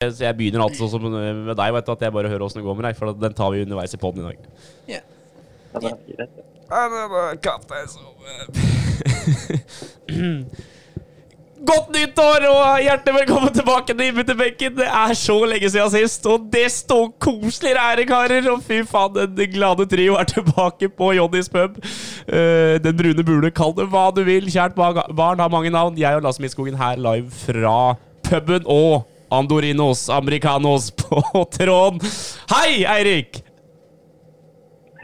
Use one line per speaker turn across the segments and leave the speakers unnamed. Så jeg begynner alltid sånn som med deg, vet du, at jeg bare hører åssen det går med deg. For den tar vi underveis i poden i dag.
Ja.
Ja, det er greit. det.
Godt nyttår og hjertelig velkommen tilbake til Innbytterbenken. Det er så lenge siden sist, og desto koseligere er det, karer. Og fy faen, den glade trio er tilbake på Johnnys pub. Eh, den brune bule, kall det hva du vil. Kjært ba- barn har mange navn. Jeg og Lasse Midtskogen her live fra puben og Andorinos Americanos på tråden. Hei, Eirik!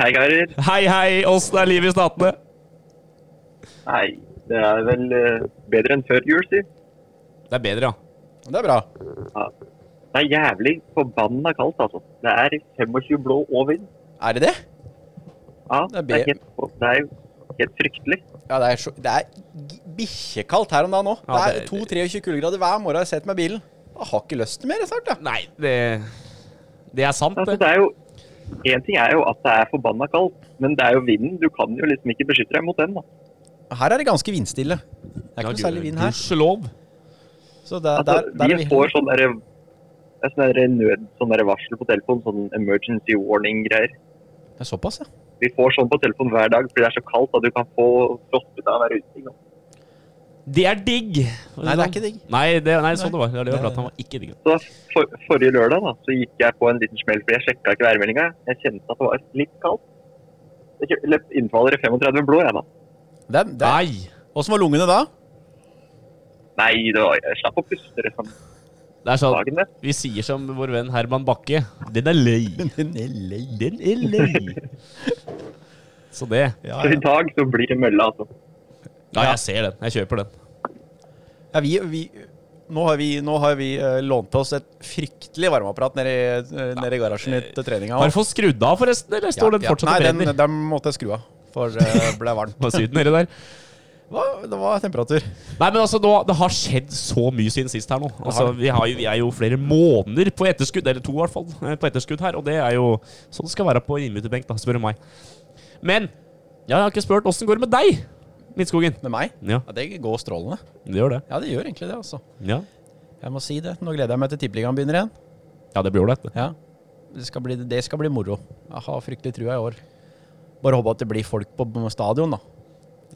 Hei, karer.
Hei, hei. Åssen er livet i Statene?
Nei, det er vel eh, bedre enn før jul, si.
Det er bedre, ja.
Det er bra.
Ja. Det er jævlig forbanna kaldt, altså. Det er 25 blå og vind.
Er det det?
Ja,
Det er
det er
be-
helt, det er jo helt fryktelig.
Ja, det er, så, det er g- bikkjekaldt her om dagen òg.
Ja, det-
det er 22-23 kuldegrader hver morgen jeg setter meg i bilen. Jeg har ikke lyst til mer snart, jeg.
Nei, det Det er sant,
Altså,
det.
det er jo Én ting er jo at det er forbanna kaldt, men det er jo vinden. Du kan jo liksom ikke beskytte deg mot den, da.
Her er det ganske vindstille. Det er ikke noe særlig vind her.
Gudskjelov.
Så der,
Altså,
der, der er
vi
vi.
får sånn derre det er sånn derre nød, sånn derre varsel på telefonen, sånn emergency warning-greier.
Det er såpass, ja.
Vi får sånn på telefonen hver dag fordi det er så kaldt at du kan få frostbitt av hver uting.
Det er digg.
Nei, det er ikke digg.
Nei, det, nei, sånn det
Nei.
var. Det var det jeg
Det-
pratet om, var ikke digg.
Så for, forrige lørdag da, så gikk jeg på en liten smell, for jeg sjekka ikke værmeldinga. Jeg kjente at det var litt kaldt. Jeg kjø- løp- innfaller i 35 blå, jeg da.
Det er, det er.
Nei.
Åssen var lungene da?
Nei, det var, jeg slapp å puste liksom. resten av
Det er sånn
dagen. det.
Vi sier som vår venn Herman Bakke. Den er løy.
Den er lei.
Den er løy. Så det
Ja,
Så i
ja.
dag så blir det mølla, altså.
Ja, jeg ser den. Jeg kjøper den.
ja vi, vi, nå har vi, nå har vi eh, lånt oss et fryktelig varmeapparat nede i, eh, nede i garasjen til treninga.
Har du fått skrudd av, forresten? Eller står den fortsatt og
Nei,
brenner?
den, den måtte jeg skru av, for det ble varmt.
Hva sier den nedi der?
Hva, det var temperatur.
Nei, men altså, nå, det har skjedd så mye siden sist her nå. Altså,
har det.
vi, har jo, vi er jo flere måneder på etterskudd, eller to i hvert fall, eh, på etterskudd her. Og det er jo sånn det skal være på innbytterbenk, da, spør du meg. Men jeg har ikke spurt åssen går det med deg, Midtskogen.
Med meg?
Ja,
Ja, det går strålende.
det gjør det.
Ja, det gjør egentlig det, altså.
Ja,
Jeg må si det. Nå gleder jeg meg til tippeligaen begynner igjen.
ja det blir ålreit. det.
Ja. Det skal, bli, det skal bli moro. Jeg har fryktelig trua i år. Bare håpe at det blir folk på b- stadion, da.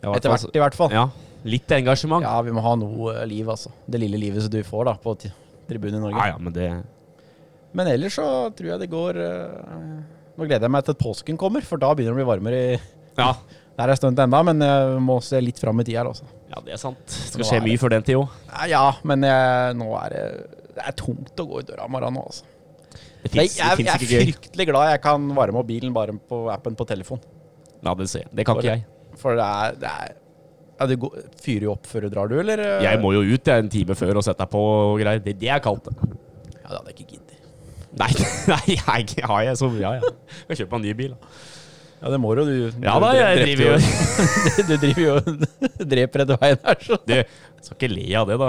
Ja, i
Etter hvert,
fall
i hvert
så-
fall.
altså, Ja, litt engasjement. Ja.
Ja, vi må ha noe eh, liv, altså. Det lille livet som du får da, på ti- tribunen i Norge.
ja, men det
Men ellers så tror jeg det går eh, Nå gleder jeg meg til at påsken kommer, for da begynner det å bli varmere. i...
Ja,
Det er en stund ennå, men jeg må se litt fram i tida her, altså.
ja det er sant. Det skal
Nå
skje
er
mye
det-
før den tid òg.
Ja, Ja, men jeg, nå er det Det er tungt å gå i døra i morgen nå, altså.
Det
Jeg,
fins
jeg, jeg
ikke
er
gøy.
fryktelig glad jeg kan varme opp bilen bare på appen på telefon.
Ja, det, ser. jeg. det kan ikke jeg.
For det er, det er ja, du går, Fyrer jo opp før du drar, du, eller? eh?
Jeg må jo ut jeg, en time før og sette deg på og greier. Det, det er kaldt. det.
Ja, det hadde jeg ikke giddet.
Nei, nei jeg har jeg så Ja, ja. Skal kjøpe meg en ny bil. da.
Ja, det må du. du
Ja da, jeg
drepte
driver jo
Du driver jo og dreper etter veien her, så
Du, skal ikke le av det, da.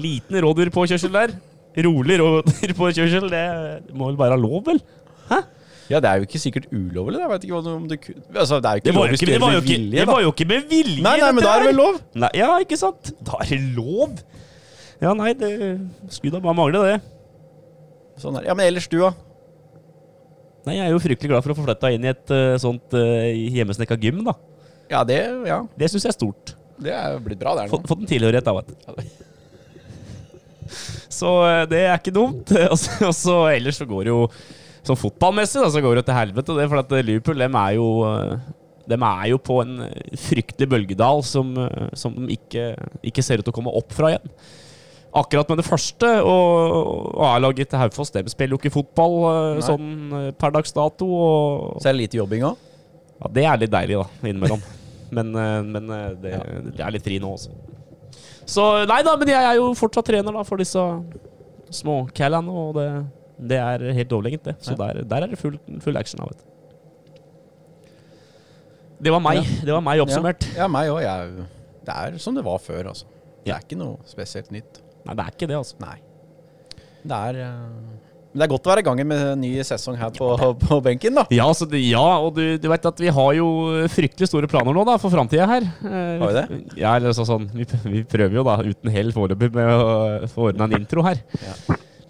Liten rådyrpåkjørsel der. Rolig rådyrpåkjørsel, det må vel være lov, vel?
Ja, det er jo ikke sikkert ulovlig, da. Jeg vet ikke hva du- om du ku- Altså, det er jo ikke
Det var jo
lov hvis
ikke,
du
det
gjør
var jo
det med
ikke,
vilje,
det
da.
var jo ikke med vilje,
Nei, nei,
dette
men da er
her.
det vel lov?
Nei, ja, ikke sant? Da er det lov! Ja, nei, det skulle da bare mangle, det.
Sånn er. det. Ja, men ellers du, da?
Nei, jeg er jo fryktelig glad for å få flytta inn i et eh, sånt uh, hjemmesnekka gym, da.
Ja, det, ja,
Det syns jeg er stort.
det er jo blitt bra, det er
Fått
nå.
fått en tilhørighet, da, vet du.
Ja, det-
Så eh, det er ikke dumt. Og så, og så ellers så går det jo Sånn fotballmessig da, så går det jo til helvete, det. For at eh, Liverpool dem er jo eh, dem er jo på en eh, fryktelig bølgedal som, eh, som de ikke, ikke ser ut til å komme opp fra igjen. Akkurat med det første, og, og A-laget til Haufoss dem spiller jo ikke fotball eh,
Nei.
sånn eh, per dags dato. Og
Så er det lite jobbing òg?
ja, det er litt deilig, da, innimellom. men eh, men eh, det, det er litt fri nå også. Så nei da, men jeg er jo fortsatt trener da for disse småcallene, og det, det er helt overlegent, det. Så der, der er det full, full action. Da, vet du. Det var meg. Det var meg oppsummert.
Ja, ja meg òg. Jeg- Det er som det var før, altså. Det
Ja.
er ikke noe spesielt nytt.
Nei, det er ikke det, altså.
Nei. Det er eh, Men det er godt å være i gang med en ny sesong her på, på benken, da.
Ja, så det, ja og du, du veit at vi har jo fryktelig store planer nå da, for framtida her. altså Eh,
Har vi
Ja, eller så, sånn, vi, vi prøver jo da, uten hell foreløpig, med å få ordna en intro her.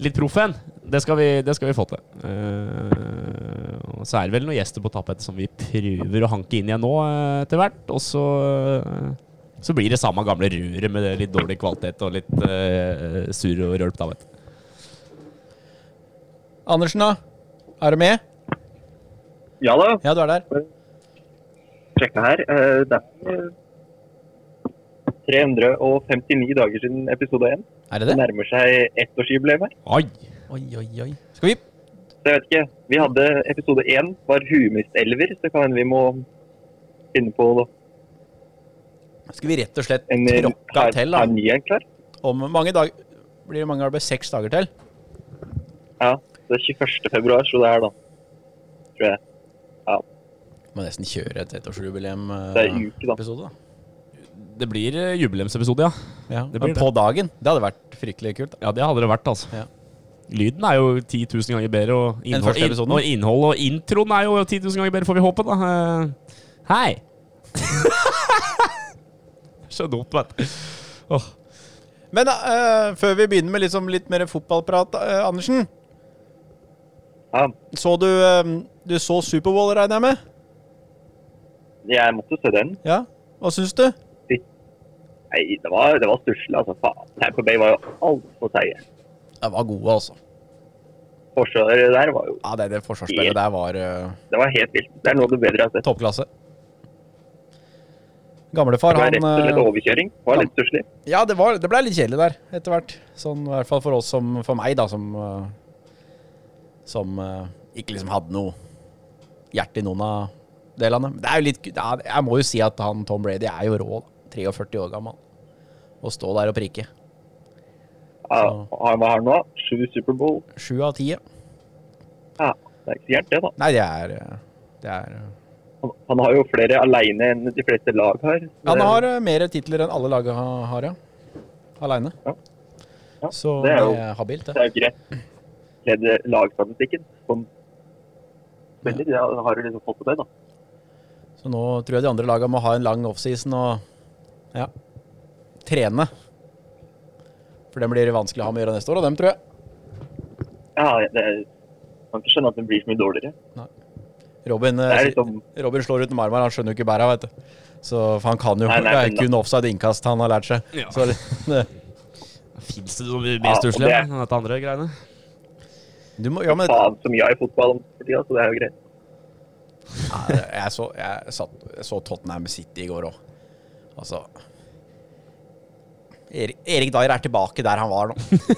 litt proffen. Det skal vi, det skal vi få til. Eh, og så er det vel noen gjester på tappet som vi prøver å hanke inn igjen nå eh, etter hvert. Og så, eh, så blir det samme gamle ruret med litt dårlig kvalitet og litt eh, surr og rølp, da, vet du.
Andersen, da? Er du med?
Ja da,
Ja, du er der.
sjekka her. Eh, Det er eh, 359 dager siden episode 1.
Er
Det nærmer seg ettårsjubileum her.
Oi!
Oi, oi, oi. Skal vi
Så jeg vet ikke. Vi hadde episode 1 var humistelver, så det kan hende vi må finne på
Skal vi rett og slett
en eh,
tråkka
Er-
til, da?
er ny en klar.
Om mange dager Blir det mange dager? Bare seks dager til?
Ja, det er 21. februar, så det er da. Tror jeg.
Må nesten kjøre et
Det er en uke, da.
ettårsjubileumepisode, da.
Det blir eh, jubileumsepisode, ja.
Ja,
Det blir
men på dagen. Det hadde vært fryktelig kult. da.
Ja, det hadde det vært, altså.
Ja.
Lyden er jo 10 000 ganger bedre, og innhold,
første episoden.
og, innhold og introen er jo 10 000 ganger bedre, får vi håpe, da. Eh, Hei! Så dumt, vet du. Åh.
Men eh, før vi begynner med liksom litt mer fotballprat, eh, Andersen.
Ja,
Så du, eh, du så Superbowl, regner jeg med?
jeg måtte se den.
Ja? Hva syns du?
Nei, det var, det var stusslig, altså. Faen. Tampa Bay var jo altfor seige.
De var gode, altså.
Forsvaret der var jo
Ja, Det, det forsvarsspillet der var eh,
Det var helt vilt. Det er noe av det bedre jeg har sett.
toppklasse. Gamlefar,
Det var
han
rett og slett
eh,
overkjøring. Det var litt stusslig.
Ja, det, var, det ble litt kjedelig der etter hvert. Sånn i hvert fall for oss som For meg, da, som eh, Som eh, ikke liksom hadde noe hjerte i noen av delene. Men Det er jo litt det er- Jeg må jo si at han Tom Brady er jo rå. da. 43 år gammel. Å stå der og prikke.
Ja, han var her nå. Sju Superbowl.
Sju av ti.
Ja, det er ikke så gærent, det, da.
Nei, det er eh, Det er eh,
Han, han har jo flere aleine enn de fleste lag har.
Han har eh, mer titler enn alle laget ha- har, ja. Aleine.
Ja,
Så
det
det
er jo-
er habilt,
Det
det.
er jo greit. Leder lagstatistikken som spiller. Ja, han har jo liksom fått på det, da.
Så nå tror jeg de andre lagene må ha en lang offseason og ja, trene. For dem blir det vanskelig å ha med å gjøre neste år, og dem tror jeg.
Ja, det er, kan ikke skjønne at den blir så mye dårligere.
Robin,
Det er
eh,
liksom
Robin slår ut med armene, han skjønner jo ikke bæra, vet du. Så for han kan jo
Nei, nei,
Det er
men da-
kun offside innkast han har lært seg.
Ja.
Så, det-
Fins det noe mer
Ja,
stusslig
og det-
enn dette andre greiene?
du må, ja, men,
faen så mye av i fotball for tida, så det er jo greit.
Nei, jeg, så, jeg, satt, jeg så Tottenham City i går òg. Altså Erik, Erik Dyer er tilbake der han var nå.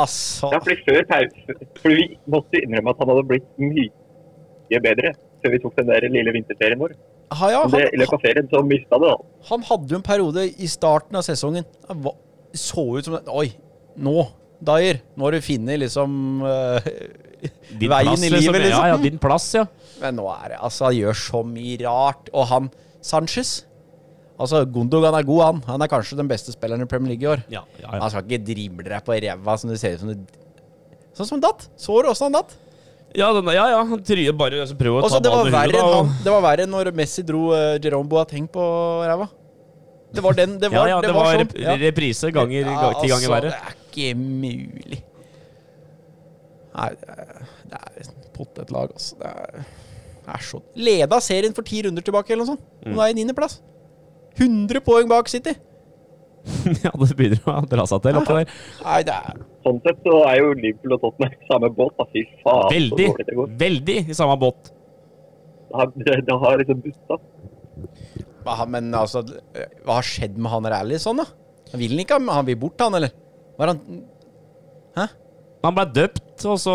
altså
Ja, fordi før pause Fordi vi måtte jo innrømme at han hadde blitt mye bedre før vi tok den der lille vinterferien vår.
ha, ja,
Men det, I
han,
løpet av ferien så mista det, da.
han hadde jo en periode i starten av sesongen. Han var, så ut som en- Oi, nå, Dyer. Nå har du funnet liksom eh,
Din
veien
plass,
i livet, liksom.
Ja, ja, din plass, ja.
Men nå er det Altså, han gjør så mye rart. Og han Sanchez Altså, Gundogan er god, han. Han er kanskje den beste spilleren i Premier League i år.
Ja, ja,
Han
ja.
skal ikke drible deg på ræva som det ser ut som du Sånn som han datt. Så du åssen han datt?
ja, den, ja, ja. Han tryer bare altså, prøver å
Også,
ta
det, var
ballen i huet,
verre
da.
enn
og-
han, det var verre enn når Messi dro uh, Jerome Boateng på ræva. Det var den Det
Ja,
var,
ja,
det var,
rep-
sånn. Ja.
reprise ganger
Ja,
ga- ti ganger
altså,
verre.
Det er ikke mulig. Nei, det er- det er et potetlag, altså. Det er, det er så Leda serien for ti runder tilbake, eller noe sånt. Nå er jeg i niendeplass. 100 poeng bak City.
ja, det begynner å dra seg til oppi der.
Nei, det er
Sånn sett så er jo Liverpool og Tottenham i samme båt. Da. Fy faen,
Veldig,
så dårlig det går.
veldig i samme båt.
Det har, det, det har liksom butta.
Hva har- Men altså, hva har skjedd med han Rallison, da? Han vil ikke ha med, han vil bort, han, eller? Var han
Han ble døpt, og så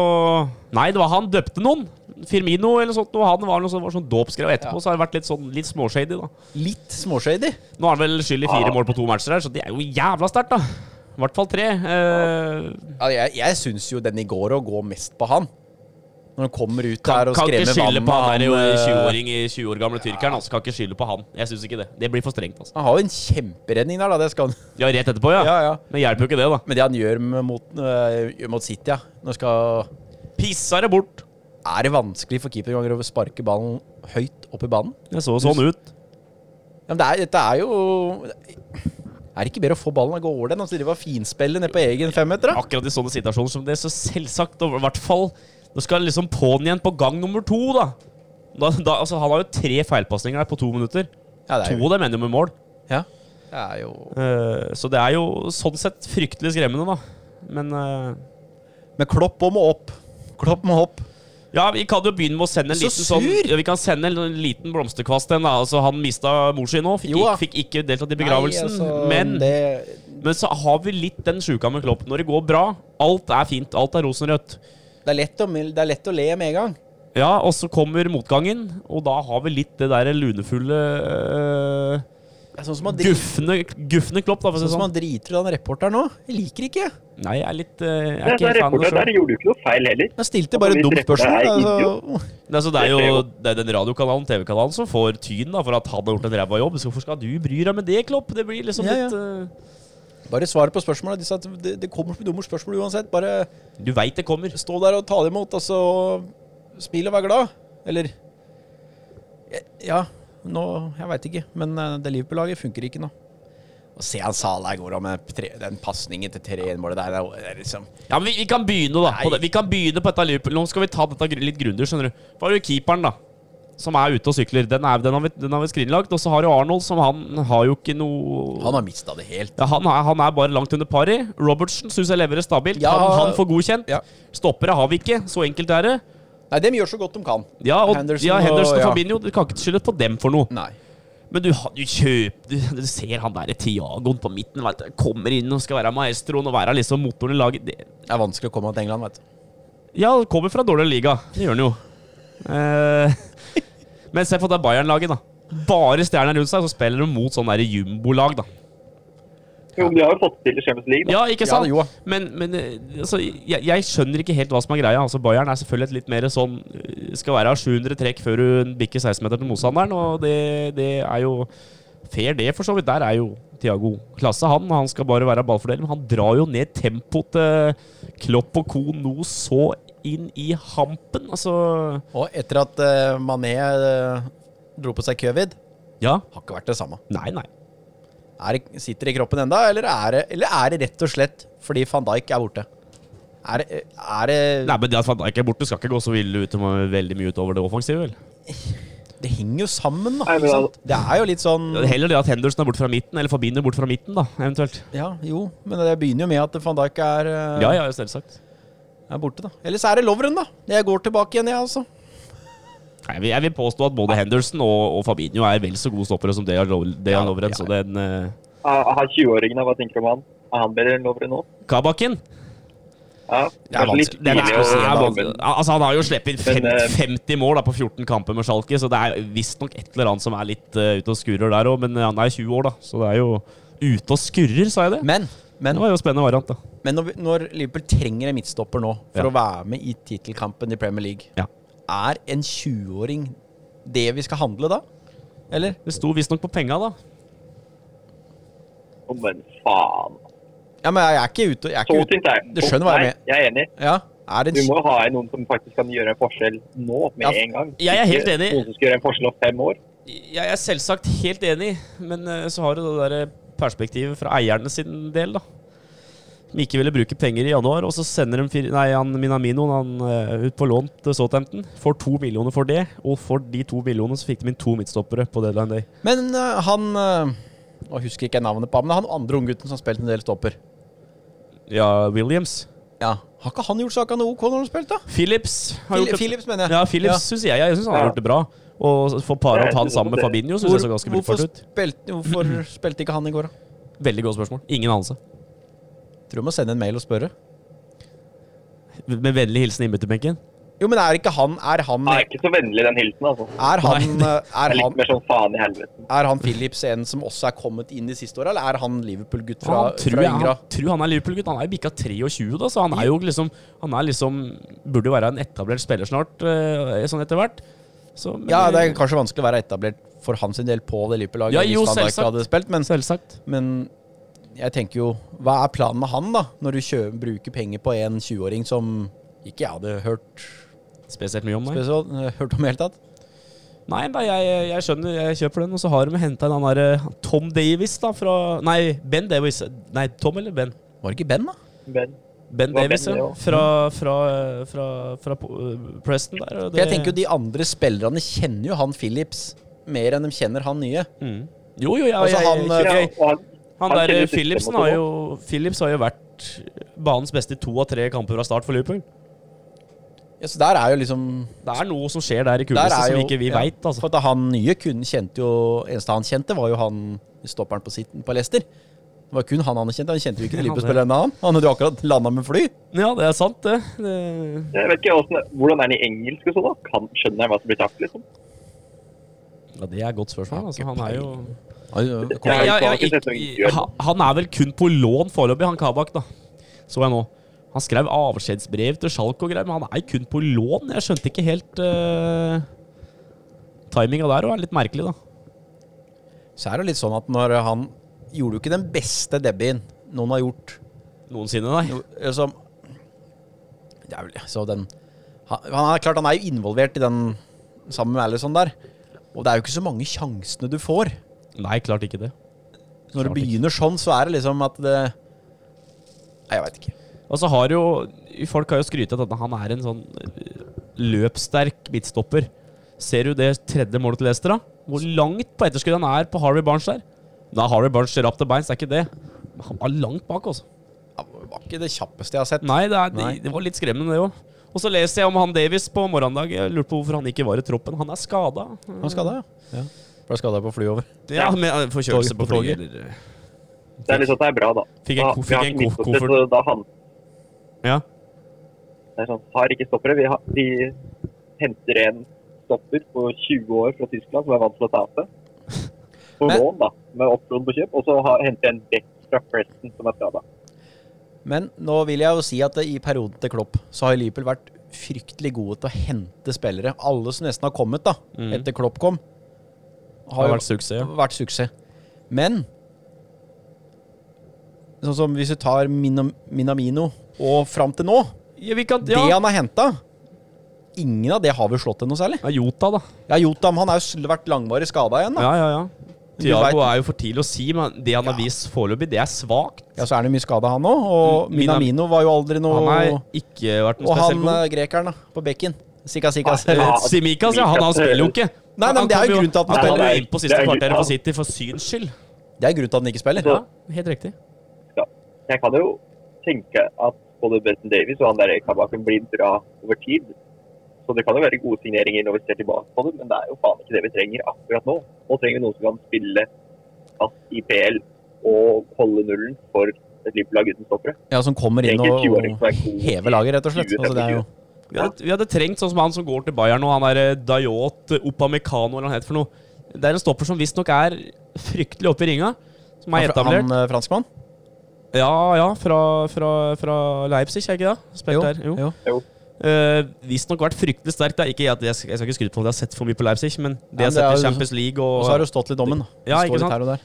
Nei, det var han døpte noen. Firmino eller sånt. Og han var noe sånn, var sånn dåpsgreie. Og etterpå
Ja.
så har det vært litt sånn litt småshady, da.
litt småshady?
Nå har han vel skyld i fire
Ja.
mål på to matcher her, så det er jo jævla sterkt, da. I hvert fall tre. Eh,
Ja, jeg jeg syns jo den i går å gå mest på han. Når han kommer ut
kan,
der og
kan ikke
skremmer
skylde
vannet.
på han der
eh,
20-åring i 20 år gamle tyrkeren. Altså, kan ikke skylde på han. Jeg syns ikke det. Det blir for strengt, altså.
Han har jo en kjemperedning der, da. Det skal han.
Ja, rett etterpå, ja.
Ja, ja.
Men hjelper jo ikke det, da.
Men det han gjør med- mot, eh, mot City, ja. Nå skal,
Pissa det bort.
er det vanskelig for keeperganger å sparke ballen høyt opp i banen?
Det så sånn ut.
Ja, men det er, dette er jo Er det ikke bedre å få ballen og gå over den? Altså, de var finspillet ned på egen femmeter, da.
Akkurat i sånne situasjoner som det, så selvsagt, og i hvert fall Nå skal liksom på'n igjen på gang nummer to, da. da, da altså, han har jo tre feilpasninger her på to minutter.
Ja, det
To
er jo,
av dem ender jo med mål.
ja. Det er jo
Eh, så det er jo sånn sett fryktelig skremmende, da. Men eh,
Men Klopp òg må opp. Klopp må opp.
Ja, vi kan jo begynne med å sende en
Så
liten sånn
sur!
ja, Vi kan sende en liten blomsterkvast til en, da. Altså, han mista mor si nå. Fikk,
Jo da.
ikke- fikk ikke deltatt i begravelsen.
Nei, altså,
men,
det,
men så har vi litt den sjuka med Klopp. Når det går bra, alt er fint. Alt er rosenrødt.
det, er lett å, det er lett å le med en gang.
Ja, og så kommer motgangen, og da har vi litt det derre lunefulle øh,
Det er sånn som han dri-
Gufne, gufne Klopp, da, for å si det
sånn som
sånn.
han driter i den reporteren nå. Jeg liker ikke.
Nei, jeg er litt øh, Jeg
Nei,
er ikke
der,
helt fan av det
reporteren
sjøl.
der gjorde jo ikke noe feil heller.
Han stilte bare et
Hvis
dumt spørsmål.
reporteren er
Altså.
Nei, så det er
Det er
jo
jo-
det er den radiokanalen, TV-kanalen, som får tyn da, for at han har gjort en ræva jobb. Så hvorfor skal du bry deg med det, Klopp? Det blir liksom
Ja, ja.
litt øh,
Bare svar på spørsmålet. De sa at det, det kommer så mye dumme spørsmål uansett. Bare
Du veit det kommer.
stå der og ta det imot, altså. og Smil og vær glad. Eller Ja, nå Jeg veit ikke. Men eh, det Liverpool-laget funker ikke nå. Å se han Salah går av med tre, den pasningen til 3-1-målet der, det er- det er liksom
Ja, men vi, vi kan begynne, da. På
Nei.
det. Vi kan begynne på dette Liverpool. Nå skal vi ta dette gr- litt grundig, skjønner du. For har du keeperen, da. Som er ute og sykler. Den, er, den har vi, den har vi skrinlagt. Og så har du Arnold, som han har jo ikke noe
Han har mista det helt.
Ja, han, er, han er bare langt under pari. Robertsen syns jeg leverer stabilt.
Ja.
han, han får godkjent.
Ja.
Stoppere har vi ikke. Så enkelt er det.
Nei, dem gjør så godt de kan.
Ja, og
Henderson
ja, Henderson og,
og- ja.
Fabinho Du kan ikke skylde på dem for noe.
Nei.
Men du, har- du kjøper Du, du ser han derre Tiagoen på midten. Vet du, kommer inn og skal være maestroen og være liksom motoren i laget. Det,
Det er vanskelig å komme til England, vet du.
ja, han kommer fra dårligere liga. Det gjør han jo. Eh, men se på det Bayern-laget, da. Bare stjerner rundt seg, så spiller de mot sånn derre jumbolag, da.
Jo, men de har jo fått til i Champions League. Da.
Ja, ikke sant?
Ja, jo.
Men, men eh, altså, jeg, jeg skjønner ikke helt hva som er greia. Altså, Bayern er selvfølgelig et litt mer sånn eh, Skal være 700 trekk før hun bikker 16-meteren til motstanderen, og det, det er jo fair, det, for så vidt. Der er jo Tiago klasse, han. og Han skal bare være ballfordeler, men han drar jo ned tempoet til Klopp og co. nå så inn i hampen. Altså
Og etter at eh, Mané eh, dro på seg covid,
Ja.
har ikke vært det samme.
Nei, nei.
Er det, sitter det i kroppen enda, eller er det, eller er det rett og slett fordi van Dijk er borte? Er det, eh, er det,
Nei, men det at Van Dijk er borte, skal ikke gå så ille ut, veldig mye utover det offensive, vel?
det henger jo sammen, da.
Nei, men
Ikke sant? Det er jo litt sånn
Det er Heller det at Henderson er borte fra midten, eller Fabinho borte fra midten, da, eventuelt.
Ja, jo, men det begynner jo med at van Dijk er, eh,
Ja, ja, selvsagt.
er borte, da. Ellers er det Lovren, da. Jeg går tilbake igjen, jeg, altså.
Nei, jeg vil- Jeg vil påstå at både Henderson og, og Fabinho er vel så gode stoppere som Dejan Lo- Dejan
Ja,
Lovren.
ja,
Så den eh,
Ah, Han 20-åringen, da, hva tenker du om han? Er han bedre enn Lovren nå?
Kabakken
Ja,
er
kanskje litt
vanskelig-
den er,
tidlig å si,
er,
da,
vanskelig.
men-
altså, Han har jo sluppet fem-
Men, eh,
50 mål da, på 14 kamper med Schalke, så det er visstnok et eller annet som er litt eh, ute og skurrer der òg. Men eh, han er 20 år, da, så det er jo Ute og skurrer, sa jeg det?
Men, men
Det var jo en spennende variant, da.
Men når, vi- når Liverpool trenger en midtstopper nå for
Ja.
å være med i tittelkampen i Premier League,
Ja.
er en 20-åring det vi skal handle da? Eller?
Det sto visstnok på penga, da.
Å, Men faen.
Ja, men jeg er ikke ute jeg er
Så
ikke ute.
sint er jeg.
Du skjønner hva jeg
Nei,
mener.
Jeg er enig.
Ja, er det
Du
en
må jo ha en noen som faktisk kan gjøre en forskjell nå, med
Ja,
en gang.
jeg er helt
Ikke
enig.
Noen som skal gjøre en forskjell om fem år.
Jeg er selvsagt helt enig, men eh, så har du det der eh, perspektivet fra eierne sin del, da. Som ikke ville bruke penger i januar, og så sender de fire, nei, han Minaminoen han, eh, ut på lån til Southampton. Får to millioner for det, og for de to millionene så fikk de inn to midtstoppere på deadline day.
Men eh, han eh, Nå husker ikke jeg navnet på ham, men han andre unggutten som har spilt en del stopper.
Ja, Williams.
Ja. Har ikke han gjort saka noe OK når han har spilt, da?
Phillips har
Phil-
gjort det-
Phillips, mener jeg.
Ja, Phillips
Ja.
synes jeg. Jeg synes han har
Ja.
gjort det bra. Og få para opp han
Jeg synes
sammen med
det.
Fabinho synes jeg så ganske
hvorfor,
brukbart ut.
spilte, hvorfor spilte ikke han i går, da?
Veldig godt spørsmål. Ingen anelse.
Tror du må sende en mail og spørre.
Med vennlig hilsen innbytterbenken.
Jo, men er ikke han Er han,
Han er ikke så vennlig, den hilsen, altså.
er han,
Nei.
eh,
Han
er
er
han
litt mer sånn faen i helvete.
Er han Philips en som også er kommet inn de siste åra, eller er han Liverpool-gutt fra,
han, tror
fra
jeg,
Yngra?
han tror han er Liverpool-gutt. Han er jo bikka 23, da, så han er jo liksom Han er liksom Burde jo være en etablert spiller snart, eh, sånn etter hvert. Så, men-
Ja, det er kanskje vanskelig å være etablert for hans sin del på det Liverpool-laget.
Ja, jo,
hvis han da
selvsagt.
ikke hadde spilt, men,
Selvsagt.
men jeg tenker jo Hva er planen med han, da? Når du kjø bruker penger på en 20-åring som ikke jeg hadde hørt,
Spesielt mye om meg.
spesielt, hørt om i det hele tatt?
Nei, da, jeg, jeg skjønner, jeg kjøper den. Og så har de henta en annen der, eh, Tom Davis da, fra Nei, Ben Davis. Nei, Tom eller Ben?
Var det ikke Ben, da?
Men
Ben
Det Mm. var
Davis,
Ben,
ja.
ja.
Fra, fra, eh, fra, fra eh, Preston der. og
For jeg tenker jo De andre spillerne kjenner jo han Phillips mer enn de kjenner han nye.
mm. Jo, jo, ja,
Altså,
jeg,
han, eh,
jeg,
ja, og han,
Han der
Han
eh,
kjenner systemet
Philipsen
også
har
nå.
jo, Philips har jo vært banens beste i to av tre kamper fra start for Liverpool.
Ja, så der er jo liksom
Det er noe som skjer der i
der
kulisse som
er jo,
ikke vi
ja,
vet veit. Altså.
For at han nye kun kjente jo Eneste han kjente, var jo han stopperen på sitten på Leicester. Det var kun han han kjente. Han kjente jo ikke
Ja,
Liverpool-spilleren han. Han hadde jo akkurat landa med fly.
Ja, det er sant, det. det
jeg vet ikke hvordan, hvordan er han i engelsk og sånn, da? Kan, skjønner han hva som blir sagt, liksom?
ja, det er et godt spørsmål. Altså. Han er jo
Han kom-
Nei,
Nei,
ja, ja,
ikke
ikke,
sett noe intervju.
ha- Han er vel kun på lån foreløpig, han Kabak, da. Så jeg nå. Han skrev avskjedsbrev til Schalke og greier, men han er kun på lån. Jeg skjønte ikke helt uh, Timinga der òg er litt merkelig, da.
Så er det litt sånn at når han gjorde jo ikke den beste debuten noen har gjort
Noensinne, nei.
Jo, altså, Det er vel så den han, han er klart han er jo involvert i den sammen med Alison der. Og det er jo ikke så mange sjansene du får.
Nei, klart ikke det.
Så når
Klart
du begynner sånn, så er det liksom at det Nei, jeg veit ikke.
Og så har jo Folk har jo skrytet av at han er en sånn eh, løpssterk midtstopper. Ser du det tredje målet til Leicester, da? Hvor langt på etterskudd han er på Harvey Barnes der? Da er Harvey Barnes rapp til beins, det er ikke det. Men han var langt bak, altså.
Ja, Det var ikke det kjappeste jeg har sett.
Nei, det, er,
Nei.
Det, det var litt skremmende, det òg. Og så leser jeg om han Davis på morgendag. Jeg lurte på hvorfor han ikke var i troppen. Han er skada.
Han skada, ja. ja. Ble skada på flyet over.
Ja, med eh, forkjølelse
Toget-
på
på toget.
flyet. eller-
Det er litt sånn at det er bra, da.
Fikk en-
Da-
fikk
vi har
en
ikke
ko-
midtstoppere,
koffert.
så Da han,
Ja.
det er sånn, har ikke stoppere. Vi, har, vi henter en stopper på 20 år fra Tyskland som er vant til å tape. På
Men-
lån, da. Med opsjon på kjøp. Og så har, henter jeg en back fra Preston som er skada.
Men nå vil jeg jo si at i perioden til Klopp så har Liverpool vært fryktelig gode til å hente spillere. Alle som nesten har kommet da,
Mm.
etter Klopp kom,
Det har
jo
vært suksess. ja.
vært suksess. Men sånn som hvis du tar Minam Minamino og fram til nå,
Ja, vi kan,
det
ja.
han har henta Ingen av det har vel slått til noe særlig.
ja, Jota, da.
Ja, Jotam han har jo sl- vært langvarig skada igjen. da.
Ja, ja, ja.
Du
Tiago
vet-
er jo for tidlig å si, men det han har vist foreløpig, det er svakt.
Ja, Så er han jo mye skada, han òg. Og
Minam-
Minamino var jo aldri noe
Mm, Han har ikke vært noe
Og han
spesielt god.
eh, grekeren da, på bekken. Sika, sika.
Eller
Ja,
Simikas, ja. altså. Han, han spiller jo ikke.
Nei, nei,
Han
men det er
kom
jo grunnen til at han
Han kom
spiller.
jo inn på
Det
siste
er grunnen-
kvarteret for City for syns skyld.
Det er grunnen til at han ikke spiller.
Ja, helt riktig.
Jeg kan jo tenke at både Benton Davies og han der Kabaken blir bra over tid. Så det kan jo være gode signeringer når vi ser tilbake på det, men det er jo faen ikke det vi trenger akkurat nå. Nå trenger vi noen som kan spille fast i PL og holde nullen for et Liverpool-lag uten stoppere.
Ja, Som kommer inn
Trenger
og,
20-åring
og
som er god.
hever laget, rett og slett. Altså, det er jo,
Vi hadde, vi hadde trengt sånn som han som går til Bayern nå, han der eh, Dayot eh, Upamecano eller hva han heter for noe. Det er en stopper som visstnok er fryktelig oppe i ringa. Som er
han, fra-
etablert.
han eh, franskmann?
Ja, ja, fra, fra, fra Leipzig, er ikke det? Spilt der. Jo.
jo.
Eh, Visstnok vært fryktelig sterk. Da. Ikke, at jeg, jeg skal ikke skryte på at jeg har sett for mye på Leipzig, men det
Ja,
jeg
men det
har
er
sett i
jo-
Champions League
Og
og,
så har det jo stått litt om den.
Ja, ikke sant?
Her og der.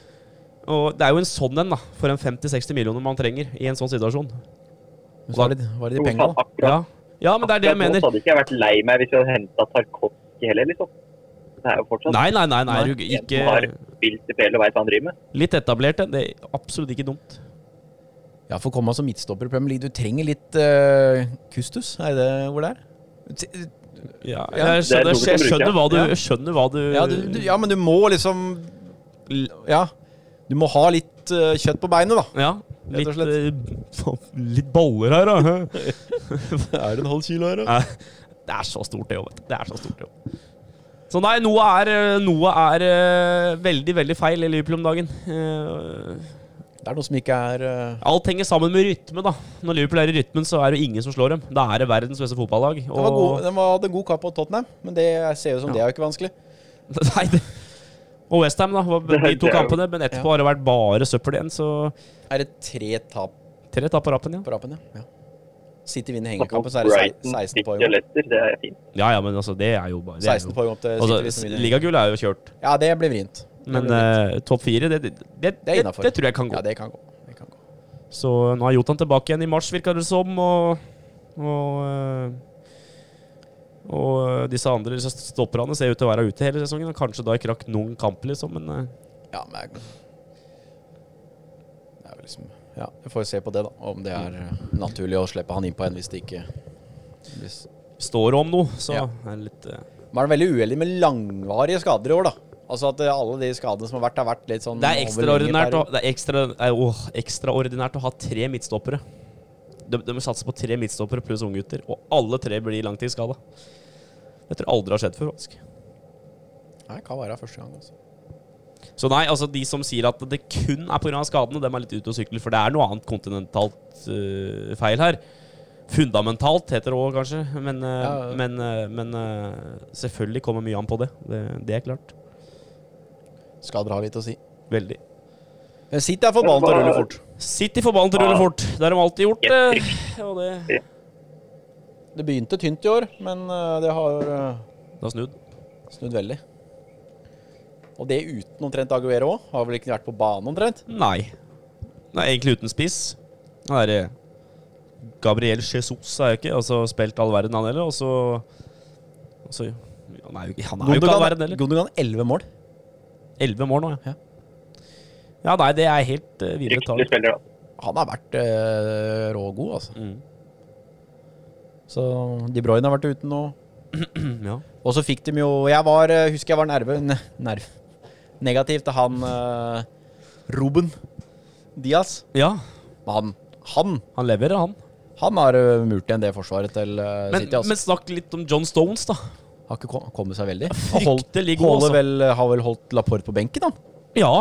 og Det er jo en sånn en, da. For en 50-60 millioner man trenger i en sånn situasjon.
Men så var det, var det de
Akkurat-
pengene, da.
akkurat
Ja. ja, men det er det jeg
nå
mener.
hadde ikke jeg vært lei meg hvis jeg hadde henta Tarkovskij heller, liksom. Det er jo fortsatt
Nei, nei, nei. nei
Nei.
du,
en som har
ikke
spilt i PL og veit hva han driver med.
Litt etablert, det. det er Absolutt ikke dumt.
Ja, For å komme som midtstopper i Premier League, du trenger litt eh, kustus? Er det hvor det er?
eh,
T-
Ja,
Ja,
jeg, skjønner,
det er noe du kan
jeg skjønner
bruke,
hva du
ja.
jeg skjønner hva du,
Ja, du, du, ja, men du må liksom Ja. Du må ha litt eh, kjøtt på beinet, da.
Ja,
Rett
litt,
og slett.
eh, faen, litt baller her, da.
Er det en halv kilo her,
Nei, det er så stort, det òg, vet du. Det er så stort, det òg. Så nei, noe er, eh, noe er eh, veldig, veldig feil i Liverpool om dagen. Eh,
Det er noe som ikke er eh,
Alt henger sammen med rytme, da. Når Liverpool er i rytmen, så er det ingen som slår dem. Da er det verdens beste fotballag.
Den, var god,
Og,
den var, hadde en god kamp mot Tottenham, men det ser jo som
Ja.
det er jo ikke vanskelig.
nei, det, og Westham, da. var
Det er-
De to
det er jo-
kampene. Men etterpå har det vært bare søppel igjen, så
Er det tre tap
tre tap på rappen, ja.
på rappen, ja? ja. City vinner hengekampen, så er det
Brighton,
se- 16
City og
poeng. opp.
Leicester, det er fint.
Ja ja, men altså, det er jo bare det er jo-
16 poeng opp til City. hvis
Altså,
de vinner.
Ligagull er jo kjørt,
Ja, det blir vrient. Det
men
blir vrient.
eh, topp fire, det, det, det,
Det
det,
er
det,
innafor.
tror jeg kan gå.
Ja, det kan gå. Det kan gå.
Så nå er Jotan tilbake igjen i mars, virker det som, og, og eh, Og eh, disse andre disse stopperne ser ut til å være ute hele sesongen, og kanskje da ikke rakk noen kamp, liksom. Men eh,
Ja, men jeg- Det er jo liksom Ja, vi får se på det, da. Om det er eh, naturlig å slippe han inn på en hvis det ikke hvis.
står det om noe, så
Ja.
er det litt eh,
Man er veldig uheldig med langvarige skader i år, da. Altså at eh, alle de skadene som har vært, har vært litt sånn
Det er
over lenge
ekstraordinært å,
perioder.
det er ekstra, eh, åh, ekstraordinært å ha tre midtstoppere. De, de satser på tre midtstoppere pluss unggutter, og alle tre blir langtidsskada. Det tror jeg aldri har skjedd før. faktisk.
Nei, kan være første gang, altså.
Så nei, altså de som sier at det kun er pga. skadene, dem er litt ute og sykler, for det er noe annet kontinentalt eh, feil her. Fundamentalt heter det òg, kanskje, men, eh,
Ja, ja.
men, eh, men eh, selvfølgelig kommer mye an på det. det. Det er klart.
Skader har litt å si.
Veldig.
Men City er forbannet og
Men hva-
ruller fort.
Sitt i forbannet og rulle
Ja.
fort. Det har de alltid gjort.
Helt
eh, og det,
Det begynte tynt i år, men eh, det har eh,
det har snudd.
snudd veldig. Og det uten omtrent Aguero òg. Har vel ikke vært på banen omtrent?
Nei. Nei, egentlig uten spiss. Han er eh, Gabriel Jesus er jo ikke altså spilt all verden, han heller. Og så og så- Han er jo ikke, han er jo ikke all verden heller.
Gundogan 11 mål.
Elleve mål nå, ja.
Ja.
Ja, nei, det er helt uh, videre tall.
Fryktelig spiller, altså.
Han har vært eh, rågod, altså.
Mm.
Så De Bruyne har vært ute nå.
Ja.
Og så fikk de jo Jeg var, eh, husker jeg var nerve, ne, nerv, negativ til han eh, Ruben Diaz.
ja,
Men han, han,
han leverer, han.
han har eh, murt igjen det forsvaret til eh,
Men,
City, altså.
men snakk litt om John Stones, da.
Har ikke kom- kommet seg veldig. Han holdt-
Fryktelig god,
holder
altså.
vel, eh, har vel holdt Laporte på benken, han.
Ja.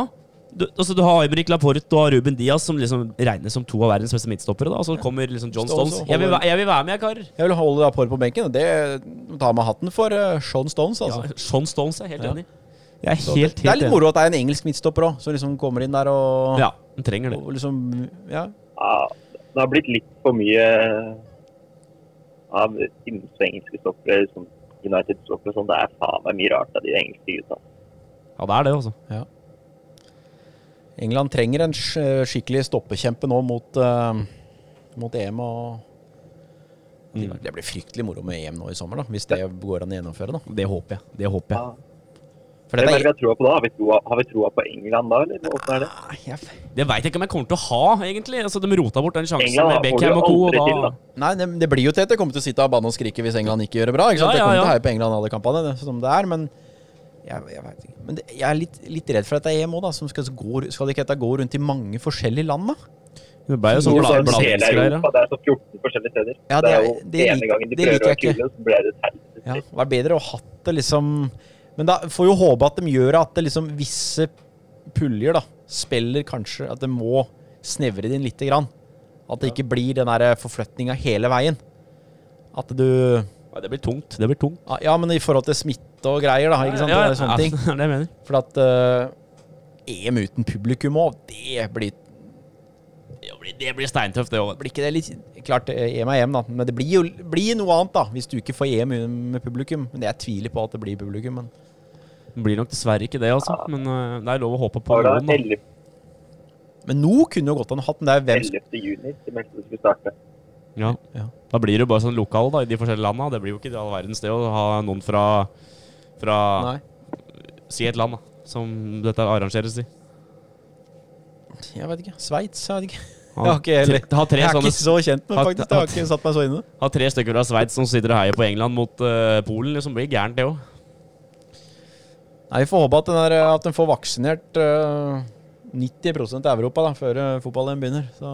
Du, altså, du har Aymeric Laporte og Ruben Diaz, som liksom regnes som to av verdens beste midtstoppere. da, Og så kommer liksom John
Stones
Stones.
og
Jeg vil,
holder-
væ- jeg vil være med, jeg, karer.
Jeg vil holde Laporte på benken, og det tar meg hatten for eh, Sean Stones, altså.
Ja, Sean Stones er helt
Ja.
enig. Jeg er
Så
helt, helt
det er litt
enig.
moro at det er en engelsk midtstopper òg, som liksom kommer inn der og,
Ja, den trenger det.
og liksom Ja.
Ja, det har blitt litt for mye av innsvengelske stoppere, sånn United-stoppere sånn. Det er faen meg mye rart av de engelske gutta.
Ja, det er det, altså.
England trenger en sk- eh, skikkelig stoppekjempe nå mot, eh, mot EM og
Mm.
Det blir fryktelig moro med EM nå i sommer, da, hvis det går an å gjennomføre. da.
Det håper jeg. Det håper jeg.
Ja.
For
Hvem
dette
er det vi
er
har troa på da? Har vi troa, har vi troa på England da, eller? Hvordan er det?
Nei, Ah, jeg-
Det veit jeg ikke om jeg kommer til å ha, egentlig. Altså, De rota bort den sjansen
England
med
får du
Beckham og co. Og
aldri til,
da
da.
Nei, det, det blir jo tett. Jeg kommer til å sitte av banen og skrike hvis England ikke gjør det bra. ikke sant?
Ja, ja,
Jeg kommer til å
ja.
heie på England alle kampene, det, som det er, men jeg, jeg vet ikke. Men det, jeg er litt, litt redd for dette EM òg, da. Som skal, gå, skal det ikke dette gå rundt i mange forskjellige land, da?
Det ble jo
sånn
sånn
bla-
Hele
blandingsgreier.
Europa, Det er så 14 forskjellige steder.
Ja,
det,
det
er jo
er- det
det ene
lik-
gangen de
det
prøver
liker
å
jeg
være
ikke.
kule, så ble det et helvete.
Ja, det var bedre å ha hatt det liksom Men da får jo håpe at de gjør at det liksom visse puljer, da, spiller kanskje At det må snevre det inn lite grann. At det ikke blir den der forflytninga hele veien. At du
Det blir tungt. Det blir tungt.
Ja, men i forhold til smitte og greier, da. Ikke sant?
Ja, ja,
det er sånne ting.
Ja, det er det jeg mener.
For at eh, EM uten publikum òg, det blir,
Det blir- Det blir steintøft, det òg.
blir ikke det litt Klart eh, EM er EM, da, men det blir jo blir noe annet, da. Hvis du ikke får EM med publikum. Men jeg tviler på at det blir publikum, men
Det blir nok dessverre ikke det, altså. Men øh, det er lov å håpe på
Var det
noen. da.
11.
Men nå kunne jo godt han hatt den der hvem sk-
11. juni de meldte det skulle starte.
Ja.
Ja.
Da blir det jo bare sånn lokal da, i de forskjellige landa. Det blir jo ikke det all verdens det å ha noen fra, fra
Nei.
si et land da, som dette arrangeres i.
Jeg vet ikke. Sveits? Jeg vet ikke.
Ha,
Jeg har ikke heller-
tre, ha tre
Jeg er
sånne
ikke så kjent med
Hatt-
faktisk. Jeg har ikke satt meg så inn i det.
Ha tre stykker fra Sveits som sitter og heier på England mot eh, Polen. Liksom blir gærent, det òg.
Nei, Vi får håpe at den, der, at den får vaksinert øh, 90 av Europa da, før øh, fotballen begynner. Så.
Ja,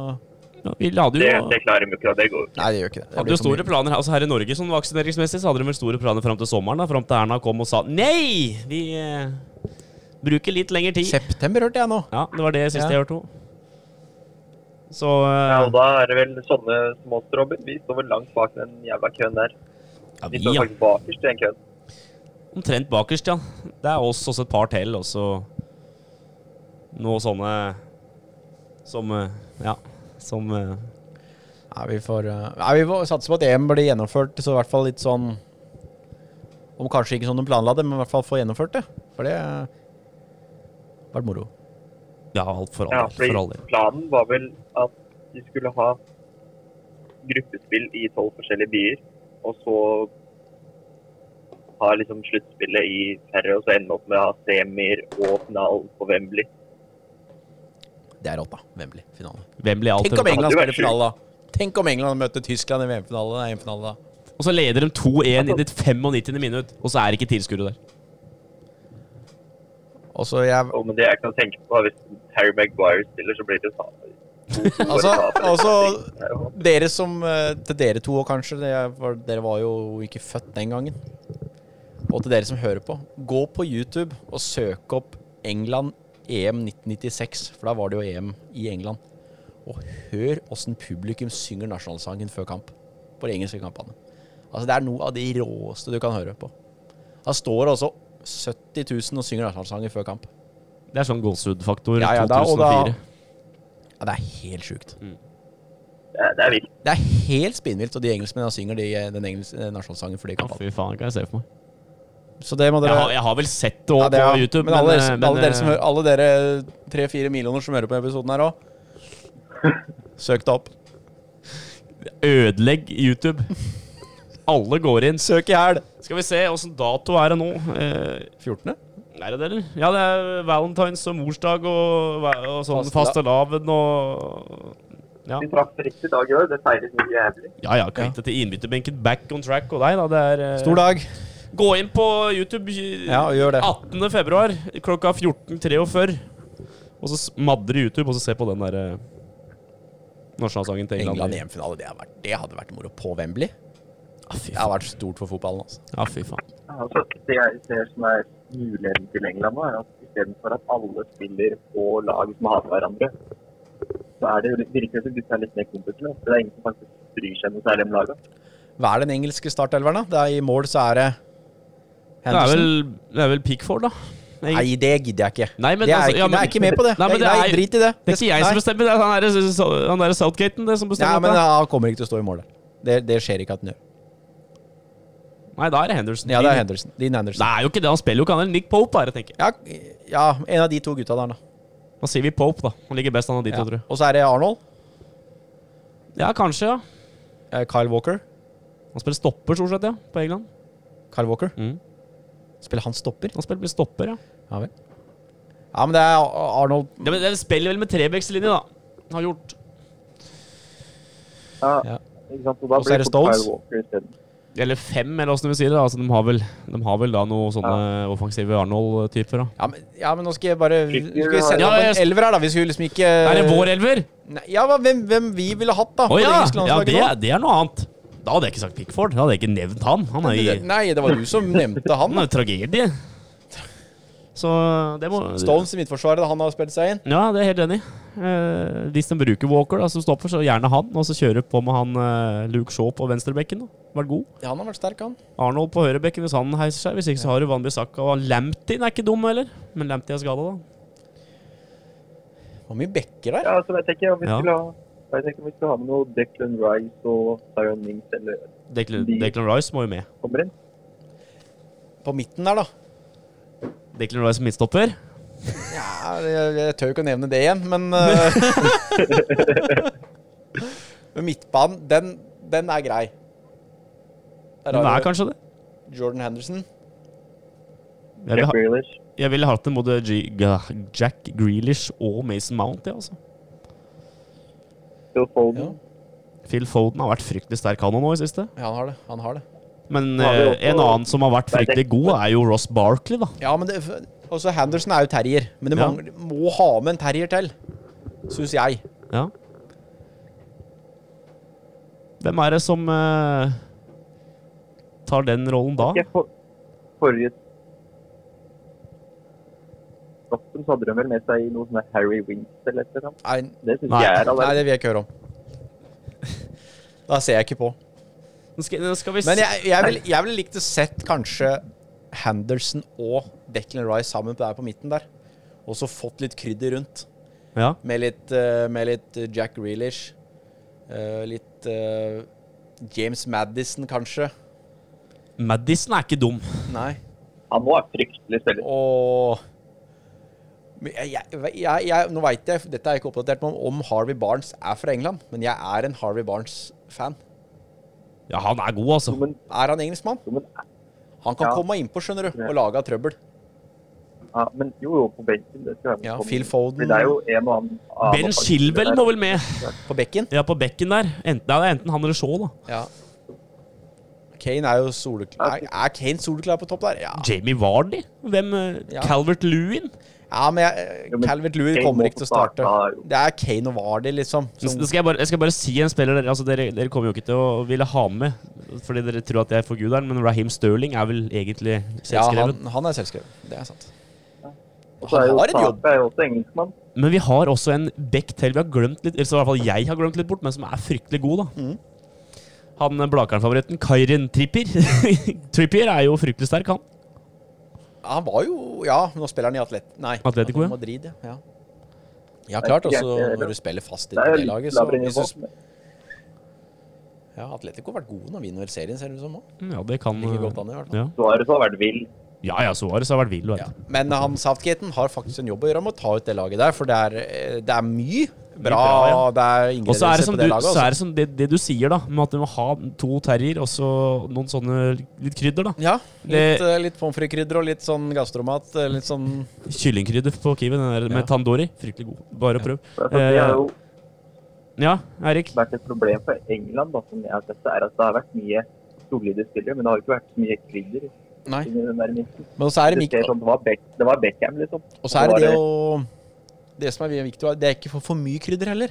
vi hadde
Det,
jo,
det klarer de jo ikke, og det går jo ikke.
Nei, det gjør ikke det. det.
hadde jo
blir for
store
mye.
planer altså her i Norge sånn vaksineringsmessig. Så hadde de vel store planer fram til sommeren, da, fram til Erna kom og sa nei! Vi eh, bruker litt lengre tid.
September hørte jeg nå.
Ja, det var det siste
Ja.
jeg hørte òg. Så
Ja,
eh,
og da er det vel sånne smått, Robin. Vi står vel langt bak den jævla køen der.
ja,
Vi
vi,
står
ja.
faktisk bakerst i den køen.
Omtrent bakerst, ja. Det er oss også et par til, og så noe sånne som eh, Ja, som eh,
Nei, vi får, øh, nei, vi får satse på at EM blir gjennomført, så i hvert fall litt sånn Om kanskje ikke sånn de planla det, men i hvert fall få gjennomført det. For det øh, har vært moro.
Ja, alt for
Ja,
all del. For all
fordi
del.
planen var vel at de skulle ha gruppespill i tolv forskjellige byer, og så tar liksom sluttspillet i Sverige og så ender opp med å ha semier og finalen på Wembley.
Det er rått, da. Wembley. Finale.
Hvem blir
Tenk om
alt?
England
Det hadde
spiller
vært
finale, da. Tenk om England møter Tyskland i VM-finale. nei, EM-finale, da.
Og så leder de 2-1 i ditt 95. minutt, og så er ikke tilskuere der.
Og så jeg
Og men det jeg kan tenke på, er hvis Harry Maguire spiller, så blir det jo faen.
Altså, altså
Det er jo-
dere som eh, Til dere to òg, kanskje. det var- Dere var jo ikke født den gangen. Og til dere som hører på, gå på YouTube og søk opp England E EM 1996, for da var det jo EM i England. Og hør åssen publikum synger nasjonalsangen før kamp. På de engelske kampene. Altså Det er noe av de råeste du kan høre på. Da står det også 70 000 og synger nasjonalsangen før kamp.
Det er sånn gåsehudfaktor
Ja, ja, da- og
2004.
da- Ja, Det er helt sjukt.
det er- det er vilt.
Det er helt spinnvilt, og de engelskmennene synger de, eh, den engelske nasjonalsangen for de
Ja,
kampene.
fy faen, kan jeg se for meg.
Så det må
Jeg
dere
har, jeg har vel sett det òg
Ja, det er-
på YouTube,
Men alle, dere som-
men,
alle dere som
eh,
hører- alle dere tre-fire millioner som hører på episoden her òg, søk det opp.
ødelegg YouTube. Alle går inn.
Søk i hæl!
Skal vi se åssen dato er det nå. Eh,
14.?
er det det, eller? Ja, det er valentines og morsdag og, va- og sånn
Fastelavn.
fastelavn og Ja
Vi traff riktig dag i år. Det feires mye jævlig.
ja, ja kvitt deg til innbytterbenken, back on track og deg, da. Det er eh,
Stor dag.
Gå inn på YouTube eh,
Ja, og gjør det.
18. februar klokka 14.43. Og så smadre YouTube, og så se på den der eh, nasjonalsangen til England.
England EM-finale, det, hadde vært- det hadde vært moro. På Wembley.
Ja, Ah, fy
Det har
faen.
vært stort for fotballen. altså.
Ja, fy faen.
Altså, det jeg ser som er muligheten til England nå, er at istedenfor at alle spiller på lag som hater hverandre, så er det jo litt, virker det som gutta er litt mer kompiser. For det er ingen som faktisk bryr seg noe særlig om laga.
Hva er den engelske startelveren, da? Det er I mål så er det
Det er
Henderson.
vel, det er vel Pickford, da. Eng-
Nei, det gidder jeg ikke.
Nei, men
det er,
altså,
ikke,
ja, men-
jeg er ikke med på det.
Nei, men
det,
det
nei,
er-
drit i det.
Det er ikke jeg som bestemmer, det er han derre- han derre Southgaten det, som bestemmer.
Ja, men
dette.
Han kommer ikke til å stå i mål der. Det, det skjer ikke at han gjør.
Nei, da er det Henderson.
Ja, det er Henderson. Dean Henderson.
Det er jo ikke det, han spiller jo ikke han eller Nick Pope, bare, tenker jeg.
Ja, ja, en av de to gutta der, da.
Da sier vi Pope, da. Han ligger best, han av de
Ja.
to, tror jeg.
Og så er det Arnold.
Ja, kanskje, ja.
eh, Kyle Walker.
Han spiller stopper, stort sett, ja, på England.
Kyle Walker.
Mm.
Spiller han stopper?
Han spiller blir stopper, ja.
Ja vel. Ja, men det er Arnold
ja men det spiller vel med trebekslinje, da. Har gjort.
Ja,
Ja.
ikke sant? Og da
Og så
blir
er det
fort Kyle
Stones.
Walker isteden.
Eller fem, eller åssen vi sier det. da. Altså, de, har vel, de har vel da noen sånne offensive Arnold-typer, da.
ja men, ja, men nå skal jeg bare Vi skal vi sette
Ja,
opp
jeg-
en elver her, da. Vi skulle liksom ikke
Er det vår elver?
Nei, Ja, hva- hvem, hvem vi ville hatt, da?
Å
på det
ja!
engelske
ja
landslaget
det,
nå?
er- det er noe annet. Da hadde jeg ikke sagt Pickford. Da hadde jeg ikke nevnt han. Han er, i,
Nei, det var du som nevnte han.
han
da.
er jo tragedie. Så det må
Stones i midtforsvaret, da han har spilt seg inn.
Ja, det er jeg helt enig. i. Eh, hvis de bruker Walker da, som stopper, så gjerne han. Og så kjører på med han eh, Luke Shaw på venstrebekken. da. Vært god.
Ja, han har vært sterk, han.
Arnold på høyrebekken hvis han heiser seg. Hvis ikke så har du Van Bissaka. Og Lamptin er ikke dum heller. Men Lamptin er skada, da.
Det var mye bekker der.
Ja, så jeg tenker om vi
Ja.
skulle ha jeg tenker om vi skulle ha med noe Declan Rice og Zion Mings eller
Declan, Declan Rice må jo med.
kommer inn.
På midten der, da.
Declan Rice som midtstopper.
Ja, jeg, jeg tør jo ikke å nevne det igjen, men eh, Men midtbanen, den, den er grei. Der
Den
har
er
du
kanskje det.
Jordan Henderson.
Jeg ville,
Jack
ha-
Grealish.
jeg ville hatt en både G G- Jack Grealish og Mason Mount, ja, altså.
Phil Foden.
Ja.
Phil Foden har vært fryktelig sterk han nå i siste.
Ja, han har det. han har det.
Men
Ja, det er
eh,
også-
en annen som har vært
Nei,
fryktelig
det-
god, er jo Ross Barkley, da.
Ja, men det, også Henderson er jo terrier, men det
Ja.
mangler, må ha med en terrier til, syns jeg.
Ja. Hvem er det som eh, tar den rollen da?
Ikke for, forrige Stoppen så hadde de vel med seg noe sånn der Harry Winks eller et eller annet.
Nei,
Det syns
Nei.
jeg er
nei,
allerede
det vil jeg ikke høre om. Da ser jeg ikke på.
Nå skal, nå skal vi
Men
se-
jeg, jeg ville jeg vil likt å sett kanskje Henderson og Declan Rice sammen på der på midten der. Og så fått litt krydder rundt.
ja.
Med litt, eh, med litt eh, Jack Grealish. eh, litt eh, James Madison, kanskje.
Madison er ikke dum.
Nei.
Han nå er fryktelig spiller.
Og Men jeg, jeg, jeg, jeg, Nå veit jeg, dette er jeg ikke oppdatert på, om Harvey Barnes er fra England. Men jeg er en Harvey Barnes-fan.
Ja, han er god, altså.
Jo, men,
Er han engelskmann?
jo, men
Han kan
Ja.
komme innpå, skjønner du, og lage trøbbel.
Ja, men jo, jo, på benken. Det skal være med
Ja,
på-
Phil
Men
Foden
det er jo en og annen annen
Ben
offensiv
Shilwell
der.
må vel med?
på bekken.
Ja, på bekken der. Enten, det er enten han eller Shaw, da.
Ja. Kane er jo soleklar Er er Kane soleklar på topp der? Ja.
Jamie Vardy? Hvem? eh,
Ja.
Calvert Lewin?
ja men
Jo, men
Calvert Lewin
Kane
kommer
må
ikke til å
få
starte.
starte, da, jo.
Det er Kane og Vardy, liksom.
Så
Som,
Skal jeg, bare, jeg skal bare si en spiller dere, altså dere, dere kommer jo ikke til å ville ha med, fordi dere tror at jeg forguder den, men Raheem Sterling er vel egentlig
ja,
selvskreven.
han, han er selvskreven. Det er sant.
Og så er jo
Han har et
Saka
jobb.
er jo også engelskmann.
Men vi har også en back til vi har glemt litt, eller så i hvert fall jeg har glemt litt bort, men som er fryktelig god, da. Han eh, Blakaren-favoritten, Kairin Trippier. Trippier er jo fryktelig sterk, han.
Ja, han var jo Ja, nå spiller han i Atlet... Nei,
Atletico, ja.
Madrid, ja. ja. Ja, klart.
Nei,
Også
jeg- jeg-
når du spiller fast i
Det er jo
det
litt
laget, så
lavere
hvis du,
nivå.
sp- Ja, Atletico har vært gode når vinner serien, ser det ut som. nå.
Ja, det kan
Ligger
eh,
godt an i hvert fall.
ja.
Suarez har vært vill.
ja, ja, Suarez har vært vill.
Ja.
vet du.
Men eh, han Southgaten har faktisk en jobb å gjøre med å ta ut det laget der, for det er, eh, det er mye bra,
bra, ja.
Det
Og så er
er
det
ingredienser
som,
på
du,
det laget.
så
altså.
er det, som det, det du sier, da, med at du må ha to terrier og så noen sånne litt krydder, da.
Ja.
Det-
Litt, eh, litt pommes frites-krydder og litt sånn gastromat. eh, Litt sånn
Kyllingkrydder på Kiwi, den der med
Ja.
tandori. Fryktelig god. Bare prøv. Eh,
Altså, det har jo
Ja, Eirik.
vært et problem for England, da, som jeg har sett, er at det har vært mye solide spillere, men det har jo ikke vært så mye krydder
Nei.
inni den der midten.
Men så er det
Det,
Mik-
ser sånn, det, var Beck, det var Beckham, liksom.
Og så er
var
det det å Det som er viktig, det er ikke for, for mye krydder heller.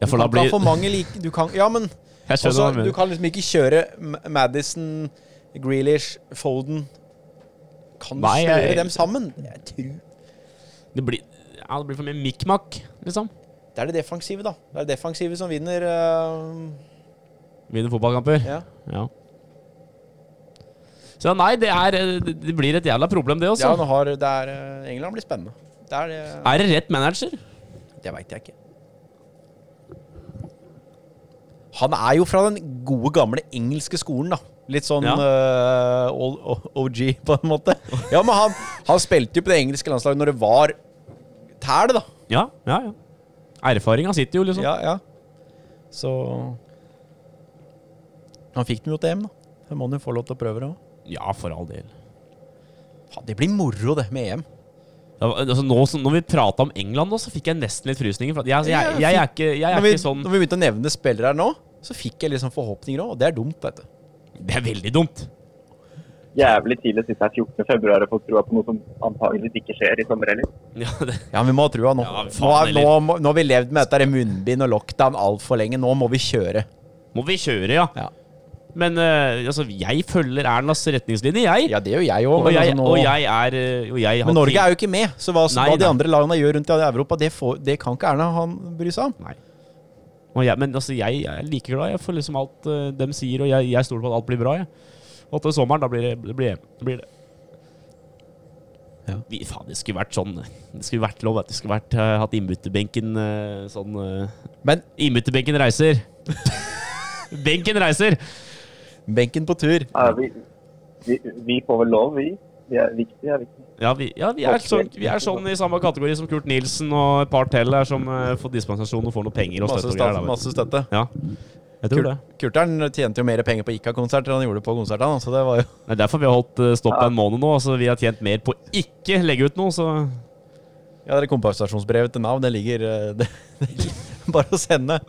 Ja, for
du
da
kan ikke ha
blir
for mange like Du kan Ja, men
Jeg skjønner
Også,
hva du mener.
du kan liksom ikke kjøre M- Madison, Grealish, Foden Kan du
Nei,
kjøre
jeg-
dem sammen? Jeg tror
Det blir, ja, det blir for mye mikk-makk, liksom.
Det er det defensive, da. Det er det defensive som vinner. eh,
Vinner fotballkamper.
ja.
Ja. Så nei, det, er, eh, det- det blir et jævla problem, det
ja,
også.
nå har det er, eh, England blir spennende. Det er det
Er det rett manager?
Det veit jeg ikke. Han er jo fra den gode, gamle engelske skolen, da. Litt sånn
Ja.
eh, all- o- OG, på en måte. Ja, men han, han spilte jo på det engelske landslaget når det var tæl, da.
Ja, ja, ja. Erfaringa sitter jo, liksom.
Ja, ja. Så Han fikk dem jo til EM, da. Det må han jo få lov til å prøve det òg.
Ja, for all del.
Det blir moro, det, med EM.
Ja, Altså, nå, som- når vi prata om England, nå, så fikk jeg nesten litt frysninger. For at jeg, altså, jeg, jeg, er ikke, jeg er
Når vi,
ikke sånn
når vi begynte å nevne spillere her nå, så fikk jeg liksom forhåpninger òg, og det er dumt, vet du.
Det er veldig dumt.
Jævlig tidlig å sitte her 14. februar og få trua på noe som antageligvis ikke skjer i sommer heller.
Ja, det,
Ja, vi må ha trua nå.
Ja, men
nå,
faen
er, nå, må- nå har vi levd med dette her munnbind og lockdown altfor lenge. Nå må vi kjøre.
må vi kjøre, ja.
Ja,
Men eh, altså, jeg følger Ernas retningslinje, jeg.
ja det gjør jeg òg.
og,
Men,
jeg
altså, nå-
og jeg er eh, og jeg har
men Norge
tid-
er jo ikke med, så hva,
Nei,
hva de
nei.
andre lagene gjør rundt i Europa, det, får, det kan ikke Erna han bry seg om.
Nei. Og jeg, men altså, jeg, er like glad jeg for liksom alt uh, dem sier, og jeg, jeg stoler på at alt blir bra. Jeg. Og til sommeren, da blir det det blir, det blir det.
Ja.
Vi, faen, det skulle vært sånn Det skulle vært lov at det skulle vært eh, hatt innbytterbenken eh, sånn eh,
Men
Innbytterbenken reiser! Benken reiser!
benken på tur
Ja, vi, vi, vi får vel lov, vi. Vi er viktige, vi er viktige.
Ja, vi, ja, vi, er sånn, vi er sånn i samme kategori som Kurt Nilsen og et par til her som eh, får dispensasjon og får noe penger og
Masse,
støtte og
stat,
greier. da, vet du.
masse støtte.
Ja. Jeg tror det.
Kurtern tjente jo mer penger på Ikka-konserter enn han gjorde på konsertene. Så det var jo
Det er derfor vi har holdt eh, stopp en måned nå. Altså, vi har tjent mer på å ikke legge ut noe, så
Ja, det er kompensasjonsbrevet til Nav. Det ligger eh, det, det er Bare å sende.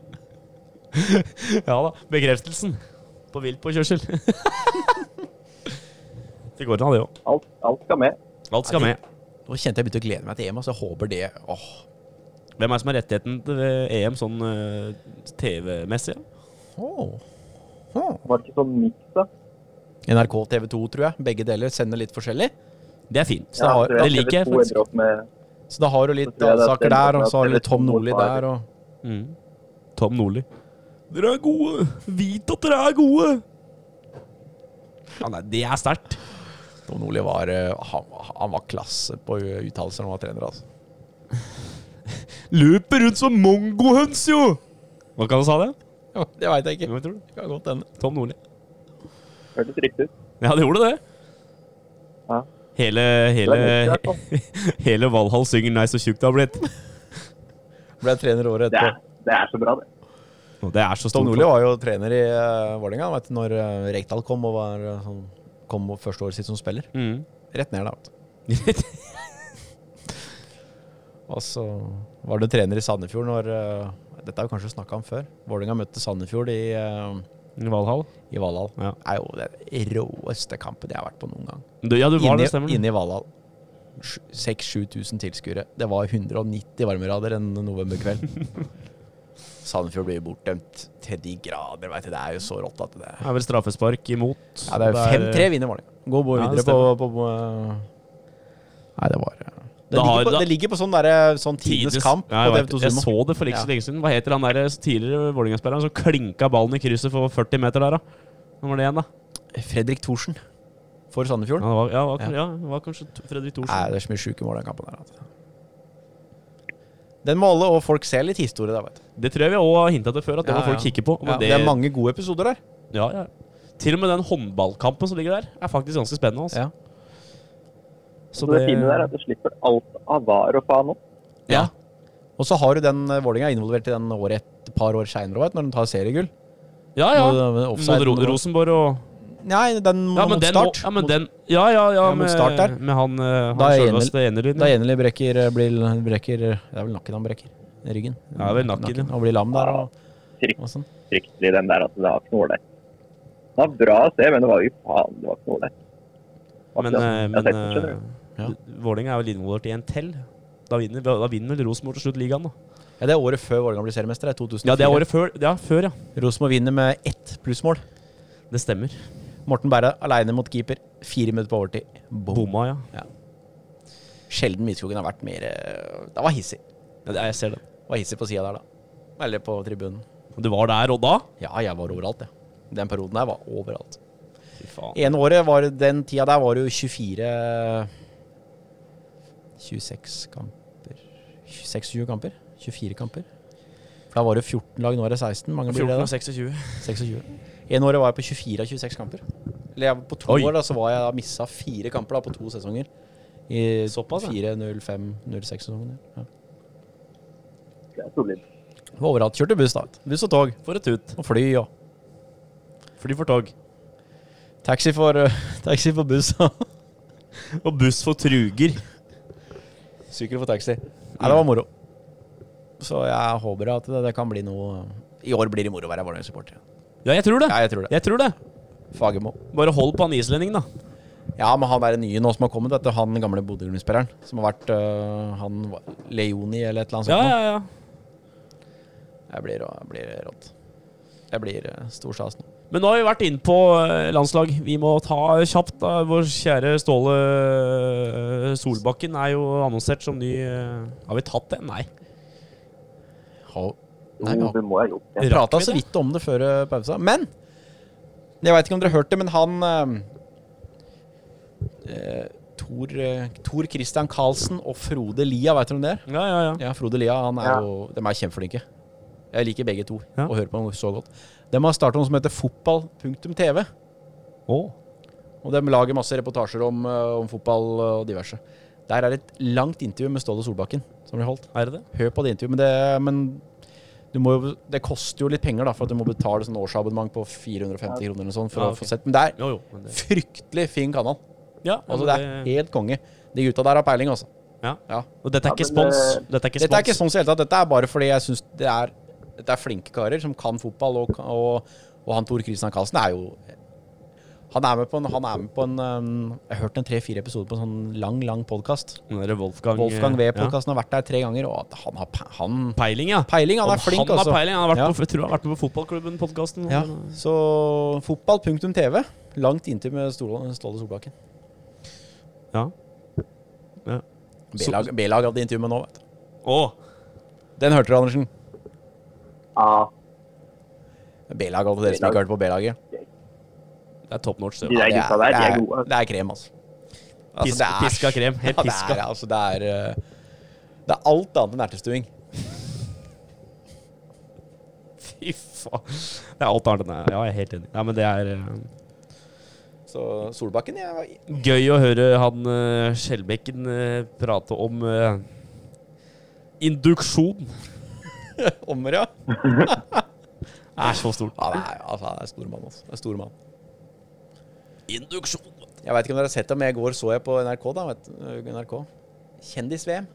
Ja da. Bekreftelsen på viltpåkjørsel. det går an, det òg.
Alt, alt skal med.
Alt skal med.
Nå kjente jeg begynte å glede meg til EM, altså. Jeg håper det Åh.
Hvem er det som har rettigheten til eh, EM sånn eh, TV-messig? ja?
Åh. Åh.
Var det ikke sånn miks, da?
NRK TV 2, tror jeg. Begge deler sender litt forskjellig.
Det er fint.
Så da har,
tror
det liker jeg
TV2 ender
faktisk.
opp med-
så da har du litt
Så tror jeg det er
Alsaker
den
der, og
at
så har du litt
TV2
Tom Nordli
tar-
der, og
Mm. Tom Nordli. Dere er gode! Vit at dere er gode! Ja, nei, det er sterkt.
Tom Nordli var eh, han, han var klasse på uttalelser når han var trener, altså.
Løper rundt som mongohøns, jo! Hva kan du sa det?
Ja, det veit jeg ikke.
Hva tror du?
Det kan godt hende.
Tom Nordli.
Hørtes riktig ut.
Ja, det gjorde det.
Ja.
Hele,
Det er
hele,
nytt, i hvert fall.
hele Valhall synger 'Nei, så tjukk det har blitt'.
Ble trener året
Det er,
etterpå.
det er så bra, det.
Og det er så
Tom
stort.
Nordli var jo trener i uh, Vålerenga vet du, når eh, Rekdal kom og var eh, sånn kom opp første året sitt som spiller.
Mm.
Rett ned, da. vet du. Og så var det trener i Sandefjord når eh, Dette har vi kanskje snakka om før. Vålerenga møtte Sandefjord i, eh,
Valhall?
i Valhall.
Ja.
Det er jo den råeste kampen jeg har vært på noen gang.
Du, ja, du var det, stemmer det.
Inne, inne i Valhall. 6000-7000 tilskuere. Det var 190 varmerader en novemberkveld. Sandefjord blir bortdømt til de grader. Vet du. Det er jo så rått at det
Det er vel straffespark imot.
ja, det er
Og
5-3 vinner Vålerenga. Gå bo
Ja, det
videre på, på, på Nei, det var eh, Det,
Da
ligger,
har-
på,
da-
det ligger på sånn, derre- sånn tidenes kamp
Ja, jeg,
på
vet,
TV2
jeg
Sumo.
så det for ikke så lenge siden. Hva heter han der eh, tidligere Vålerenga-spilleren som klinka ballen i krysset for 40 meter der, da? Hvem var det igjen, da?
Fredrik Thorsen for
Ja,
Sandefjorden.
det var, ja, det var, ja, det var kanskje T- Fredrik
Nei,
Thorsen.
det er så mye sjuke mål den kampen der. at- Den må alle, og folk ser litt historie der, vet du.
Det tror jeg vi òg har hinta til før, at det
Ja,
må folk
ja.
kikke på. Men
Ja, det er mange gode episoder der.
ja, ja. Til og med den håndballkampen som ligger der, er faktisk ganske spennende. Altså.
Ja.
Så
det fine der er at du slipper alt av var og faen opp.
Ja.
Og så har du den eh, Vålinga involvert i den året et par år seinere, når de tar seriegull.
Ja, ja.
Nå- nå- offside-
Mot Ro Rosenborg og
Nei, den
Ja, men
mot
den,
start.
ja, men den Ja, ja, ja,
mot
med,
Start der.
med han, eh, han
Da er
sjølveste Enerlyn.
Da
ja.
Jenny brekker, eh, blir, brekker Det er vel nakken han brekker? Ryggen?
Ja, det er vel nakken, ja.
Og blir lam der og,
Frykt-
og sånn.
Fryktelig, den der. Altså, det var ikke noe ålreit. Det var bra å se, men det var jo faen, det var ikke noe ålreit.
Men, eh, men eh,
Ja.
Vålerenga er vel involvert i en til. Da vinner, da vinner vel Rosenborg til slutt ligaen, da.
Ja, det er året før Vålerenga blir seriemester. Det er 2004.
Ja, det er året før. Ja, før, ja.
Rosenborg vinner med ett plussmål.
Det stemmer.
Morten Berre aleine mot keeper. Fire minutter på overtid. Boom.
Bomma, ja.
Sjelden Midtskogen har vært mer eh, Det var hissig.
ja det, jeg ser det.
Det var hissig på sida der, da. Eller på tribunen.
Du var der og da?
Ja, jeg var overalt, jeg. Den perioden der var overalt.
Fy faen.
Ene året var det- Den tida der var det jo 24 26 kamper 26-20 kamper? 24 kamper? For da var det 14 lag, nå er det 16. Mange blir det
14
da?
og 26.
26. En året var jeg på 24 av 26 kamper. Eller jeg, på to
Oi.
år da, så var jeg da missa fire kamper da, på to sesonger. I
Såpass, ja.
4-0-5-0-6-sesongen. sånn, Ja.
Det er solid.
Det var Overalt. Kjørte buss, da. Buss og tog.
For et tut.
Og fly og
Fly for tog.
taxi for, eh, taxi for buss. og
Og buss for truger.
Sykkel for taxi. Nei, det var moro. Så jeg håper at det, det kan bli noe eh, I år blir det moro å være Vålerenga-supporter.
Ja, jeg tror det.
Ja, jeg tror det.
Jeg tror det.
Fagermo.
Bare hold på han islendingen, da.
Ja, men han er den nye nå som har kommet, vet du. Han gamle Bodø-spilleren. Som har vært eh, han var- Leoni eller et eller annet
Ja,
sånt. nå.
ja, ja.
Jeg blir, jeg blir rått. Jeg blir eh, stor stas nå.
Men nå har vi vært inne på eh, landslag. Vi må ta kjapt da. Vår kjære Ståle eh, Solbakken er jo annonsert som ny eh, Har vi tatt det? Nei.
Ha. Nei,
Jo,
ja.
det må jeg ha gjort.
Rakk
Jeg prata
vi
så
det?
vidt om det før eh, pausa. Men jeg veit ikke om dere hørte det, men han eh, eh, Tor, eh, Tor Christian Karlsen og Frode Lia, veit dere om det? er?
Ja, ja, ja.
Ja, Frode Lia han er
Ja.
jo, de er kjempeflinke. Jeg liker begge to
Ja.
og hører på dem så godt. De har starta noe som heter fotball.tv.
Å.
Og de lager masse reportasjer om, eh, om fotball og diverse. Der er et langt intervju med Ståle Solbakken som blir holdt.
Er det det?
Hør på det intervjuet, men, det, men du må jo, det koster jo litt penger, da, for at du må betale sånn årsabonnement på 450 kroner eller sånn for
Ja,
å
ok.
få sett. Men det er
Jo, jo. Men det,
fryktelig fin kanal.
ja,
Altså,
men
det er helt konge. De gutta der har peiling, altså.
Og dette er ikke
Ja, men,
spons.
eh,
Dette er ikke
Dette er ikke
spons.
sånn i det hele tatt. Dette er bare fordi jeg syns det er Dette er flinke karer som kan fotball, og, og, og han Tor Christian Karlsen er jo han er med på en, han er med på en um, Jeg hørte en tre-fire episoder på en sånn lang, lang podkast.
Den derre Wolfgang,
Wolfgang
eh,
V-podkasten har vært der tre ganger, og at han har pe- han
Ja. Peiling, ja.
peiling. Han
Om
er flink,
han
altså.
Har peiling. Han har vært
Ja.
på, jeg tror han har vært med på Fotballklubben-podkasten.
Ja, så fotball.tv. Langt inntil med Ståle Ståle Solbakken.
ja.
B-lag B-lag hadde intervju med nå, vet du.
Å!
Den hørte du, Andersen.
Ja,
B-lag hadde dere som ikke hørte på B-laget.
Det er top notch.
de
Det.
Ja,
der
det
gutta der, de
det
er gode.
Det er krem, altså.
Pis- piska krem. Helt
Ja,
piska.
det er, altså, det er eh, Det er alt annet enn ertestuing.
Fy faen. Det er alt annet enn det. Ja, jeg er helt enig. Nei, men det er eh,
Så Solbakken jeg, var-
Gøy å høre han eh, Skjelbekken eh, prate om eh, induksjon.
Ommer, ja.
Det er så stort.
ja det er, altså, han er stor mann, altså. Det er stor mann.
Induksjon.
Jeg veit ikke om dere har sett det, men i går så jeg på NRK. da, vet du, NRK. Kjendis-VM.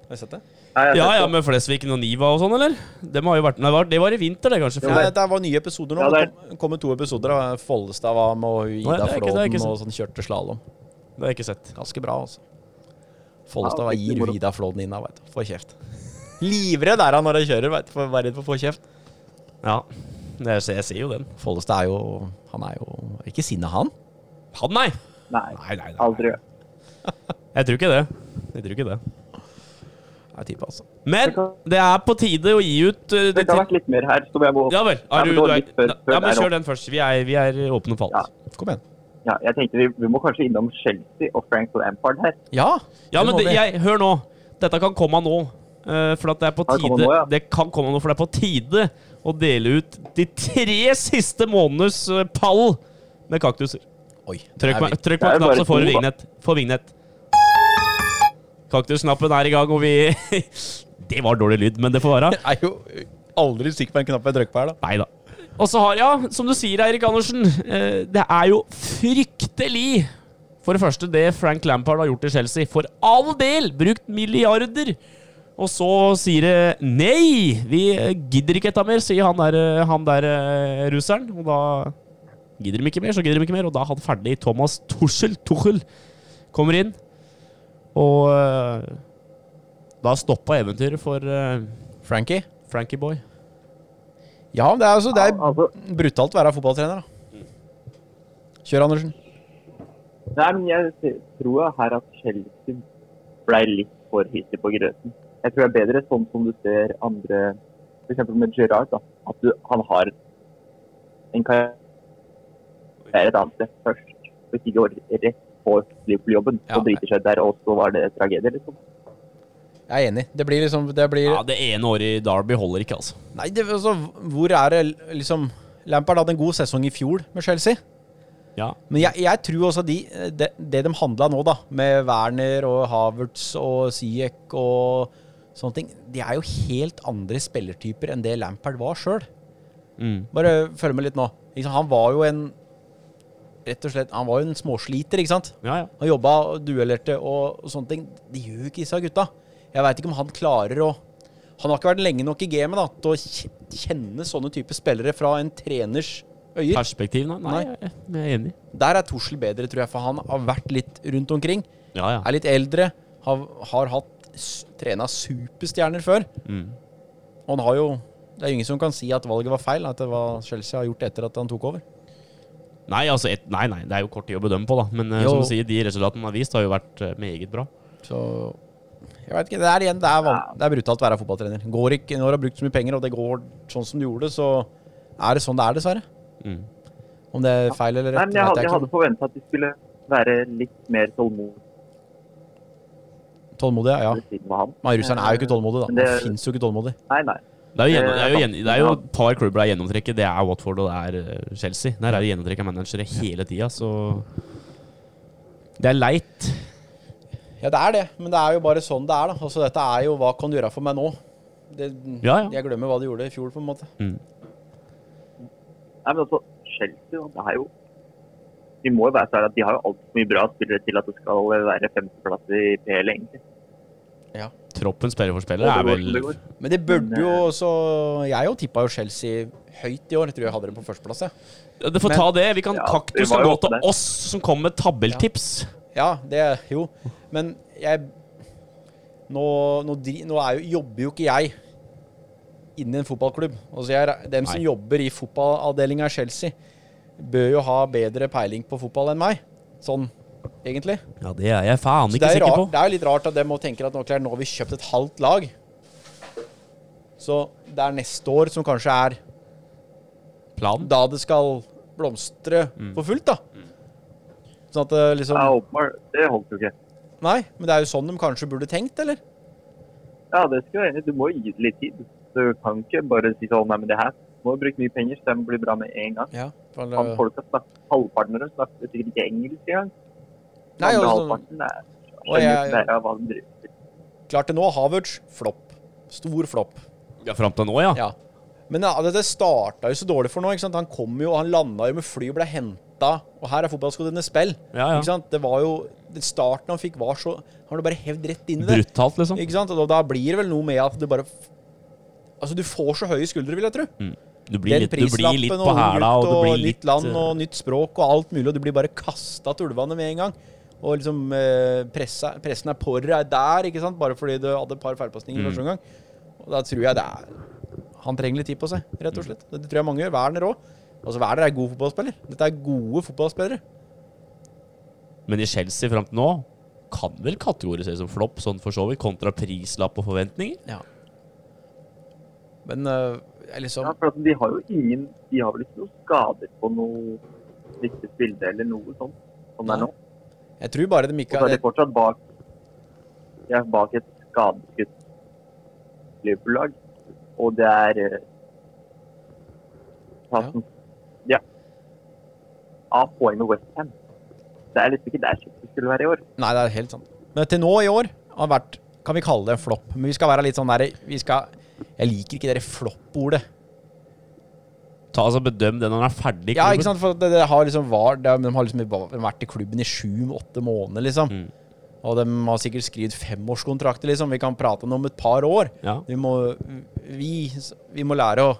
Har dere sett det?
Nei, jeg
Ja, ja,
vet det.
med Flesvig og Niva og sånn, eller? Dem har jo vært Nei, det var, det var i vinter, det, kanskje.
Ja,
før.
det, det var nye episoder nå.
Ja,
det
det er-
kom- kom det to episoder. da. Follestad var med, og
Nei,
hun
det
Ida
er ikke- det er
Flåten
ikke sant.
og sånn kjørte slalåm.
Det har jeg ikke sett.
Ganske bra, altså. Follestad
Ja,
var
fryktelig
gir
moro.
hun Ida Flåten inna, veit du. Får kjeft. Livredd er han når han kjører, veit du. for å være redd for å få kjeft.
Ja, jeg ser, jeg ser jo den.
Follestad er jo Han er jo ikke sinna, han.
Han, nei!
Nei,
Nei, nei, nei.
aldri.
Jeg tror ikke det. Jeg tror ikke det.
Det er type, altså.
Men det er på tide å gi ut uh,
Det
det
har vært litt mer her, så jeg må
Ja vel.
Nei,
Er
men
du,
det
du
var
er,
litt før- før
ja, men
der
kjør den først. Vi er, vi er åpne for
Ja.
alt.
Kom igjen.
Ja, jeg tenkte vi, vi må kanskje innom Chelsea og Frankfurt Ampard her.
Ja.
Ja, men
må
det,
vi.
jeg, hør nå. Dette kan komme nå. eh, for at det er på
Kan det
tide
komme nå, ja?
Det kan komme nå, for det er på tide å dele ut de tre siste månedenes eh, pall med kaktuser.
Oi.
Trykk
der
på
er vi.
trykk
Det
på
er
en knapp,
bare
så får du
to, da.
vignett. Får vignett. Kaktusknappen er i gang, og vi Det var dårlig lyd, men det får være.
Jeg er jo aldri sikker på en knapp jeg trykker på her, da.
Nei da. Og så har, ja, som du sier, Eirik Andersen, eh, det er jo fryktelig For det første, det Frank Lampard har gjort i Chelsea. For all del! Brukt milliarder. Og så sier det nei! Vi eh, gidder ikke dette mer, sier han der, eh, han der eh, russeren. Og da gidder de ikke mer, så gidder de ikke mer. Og da er han ferdig. Thomas Tuchel, Tuchel kommer inn. Og eh, da stoppa eventyret for eh,
Frankie?
Frankie Boy.
Ja, men det er, altså, det
Al- altså,
er brutalt å være fotballtrener, da. Kjør, Andersen.
nei, men jeg t- tror her at Chelsea ble litt for hissig på grøten. Jeg tror det er bedre sånn som du ser andre, for eksempel med Gerrard, da, at du, han har en karriere et annet sted først. Hvis ikke går rett på Liverpool-jobben, så
Ja.
driter seg der, og så var det tragedie, liksom.
Jeg er enig. Det blir liksom Det blir
Ja, det ene året i Derby holder ikke, altså.
Nei, det, altså, hvor er det liksom Lampard hadde en god sesong i fjor med Chelsea.
Ja.
Men jeg, jeg tror også de, det, det de handla nå, da, med Werner og Havertz og Ziyech og sånne ting, de er jo helt andre spillertyper enn det Lampard var sjøl.
Mm.
Bare følg med litt nå. Ikke sant, han var jo en Rett og slett, han var jo en småsliter, ikke sant?
Ja, ja.
Han jobba og duellerte og sånne ting. Det gjør jo ikke disse gutta. Jeg veit ikke om han klarer å Han har ikke vært lenge nok i gamet da, til å kje- kjenne sånne type spillere fra en treners øyer.
Perspektiv, nei. nei. jeg- Jeg er enig.
Der er Torsel bedre, tror jeg, for han har vært litt rundt omkring.
Ja, ja.
Er litt eldre. Har, har hatt s- trena superstjerner før.
Mm.
Og han har jo Det er jo ingen som kan si at valget var feil, at det var Chelsea har gjort etter at han tok over.
Nei, altså, et, nei, nei, det er jo kort tid å bedømme på, da. Men eh,
Jo.
som du sier, de resultatene han har vist, har jo vært eh, meget bra.
Så jeg vet ikke, Det er igjen, det er, van- det er brutalt å være fotballtrener. Går ikke, Når du har brukt så mye penger, og det går sånn som du gjorde det, så er det sånn det er, dessverre.
Mm.
Om det er feil eller rett,
Nei, men
vet
jeg hadde,
jeg
jeg hadde
ikke.
forventet at de skulle være litt mer tålmodige
Tålmodig, ja. ja.
siden av han.
Men russeren er jo ikke tålmodig, da.
Men
Det
det-
fins jo ikke tålmodig.
Nei, nei.
Det er jo, gjennom,
Eh,
det er jo, gjen, det er jo
ja.
et par klubber det er gjennomtrekket. Det er Watford og det er eh, Chelsea. Der er det gjennomtrekk av managere hele tida, så Det er leit.
Ja, det er det, men det er jo bare sånn det er, da. Altså, dette er jo hva kan du gjøre for meg nå? Det,
Ja, ja.
Jeg glemmer hva de gjorde i fjor, på en måte.
Nei, men altså, Chelsea, da, det er jo Vi må jo være så ærlige at de har jo altfor mye bra spillere til at det skal være femteplass i PL, egentlig.
Troppen spiller for spiller
Og det
er
går
vel
som det går.
Men det burde
Men, eh,
jo også Jeg jo tippa jo Chelsea høyt i år. Jeg tror jeg hadde dem på førsteplass, jeg.
Ja, Det får
Men-
ta det. Vi kan
Ja, vi
Kaktus
var
kan
jo
gå
oppe
til
der.
oss som kommer med tabelltips.
Ja, det Jo. Men jeg Nå, nå, dri, nå er jo, jobber jo ikke jeg inn i en fotballklubb. Altså jeg, er- dem som
Nei.
jobber i fotballavdelinga i Chelsea, bør jo ha bedre peiling på fotball enn meg. Sånn, egentlig.
Ja, det er jeg faen
Så
ikke
det er, jo
sikker
rart,
på.
det er jo litt rart at dem også tenker at nå, Claire, nå har vi kjøpt et halvt lag. Så det er neste år som kanskje er
Planen?
da det skal blomstre
Mm.
for fullt, da. Sånn at det liksom
Ja, åpenbart. Det holdt jo ikke.
Nei, men det er jo sånn de kanskje burde tenkt, eller?
Ja, det skal jeg være enig i. Du må gi det litt tid. Du kan ikke bare si sånn Nei, men det her må jo bruke mye penger, så den blir bra med en gang.
Ja.
Han
eh,
folka snakker halvparten av dem snakker sikkert ikke engelsk engang.
Nei,
Andre
altså,
halvparten er
Og
skjønner
jeg-
ikke mer av hva de driver med.
klart det nå. Havertz, flopp. Stor flopp.
Ja, Fram til nå, ja.
Ja. Men ja, det starta jo så dårlig for nå. ikke sant? Han kom jo, han landa jo med fly og ble henta henta Og her er fotballskoene dine spill.
Ja, ja.
Ikke sant? Det var jo det Starten han fikk, var så Han ble bare hevd rett inn i det.
Brutalt, liksom.
Ikke sant? Og da- da blir det vel noe med at du bare f- Altså, du får så høye skuldre, vil jeg tro.
Du blir, litt, du blir litt på hæla, og du blir litt
nytt land
eh,
og nytt språk og alt mulig, og du blir bare kasta til ulvene med en gang. Og liksom eh, pressa, pressen er på deg der, ikke sant? bare fordi du hadde et par feilpasninger
Mm.
første omgang. Og da tror jeg det er Han trenger litt tid på seg, rett og slett.
Mm.
Det tror jeg mange gjør. Werner òg. Altså, Werner er god fotballspiller. Dette er gode fotballspillere.
Men i Chelsea fram til nå kan vel kategoriseres som flopp, sånn for så vidt, kontra prislapp og forventninger?
Men eh, jeg liksom
Ja, for at de har jo ingen De har vel ikke noen skader på noe viktig bilde eller noe sånt som det er nå.
Jeg tror bare de
Og
ikke
så
har
er de fortsatt bak De er bak et skadeskutt Liverpool-lag. Og det er eh, Tassen. Ja. Av poeng med Westham. Det er liksom ikke der det skulle være i år.
Nei, det er helt sant. Men til nå i år har vært Kan vi kalle det en flopp? Men vi skal være litt sånn der Vi skal Jeg liker ikke det der flopp-ordet.
Ta altså Bedøm den når han er ferdig.
Ja,
klubben.
ikke sant? For det, det har liksom var, det, de har liksom i- vært i klubben i sju-åtte måneder, liksom.
Mm.
Og de har sikkert skrevet femårskontrakter, liksom. Vi kan prate om det om et par år.
Ja.
Vi må, vi, vi må lære å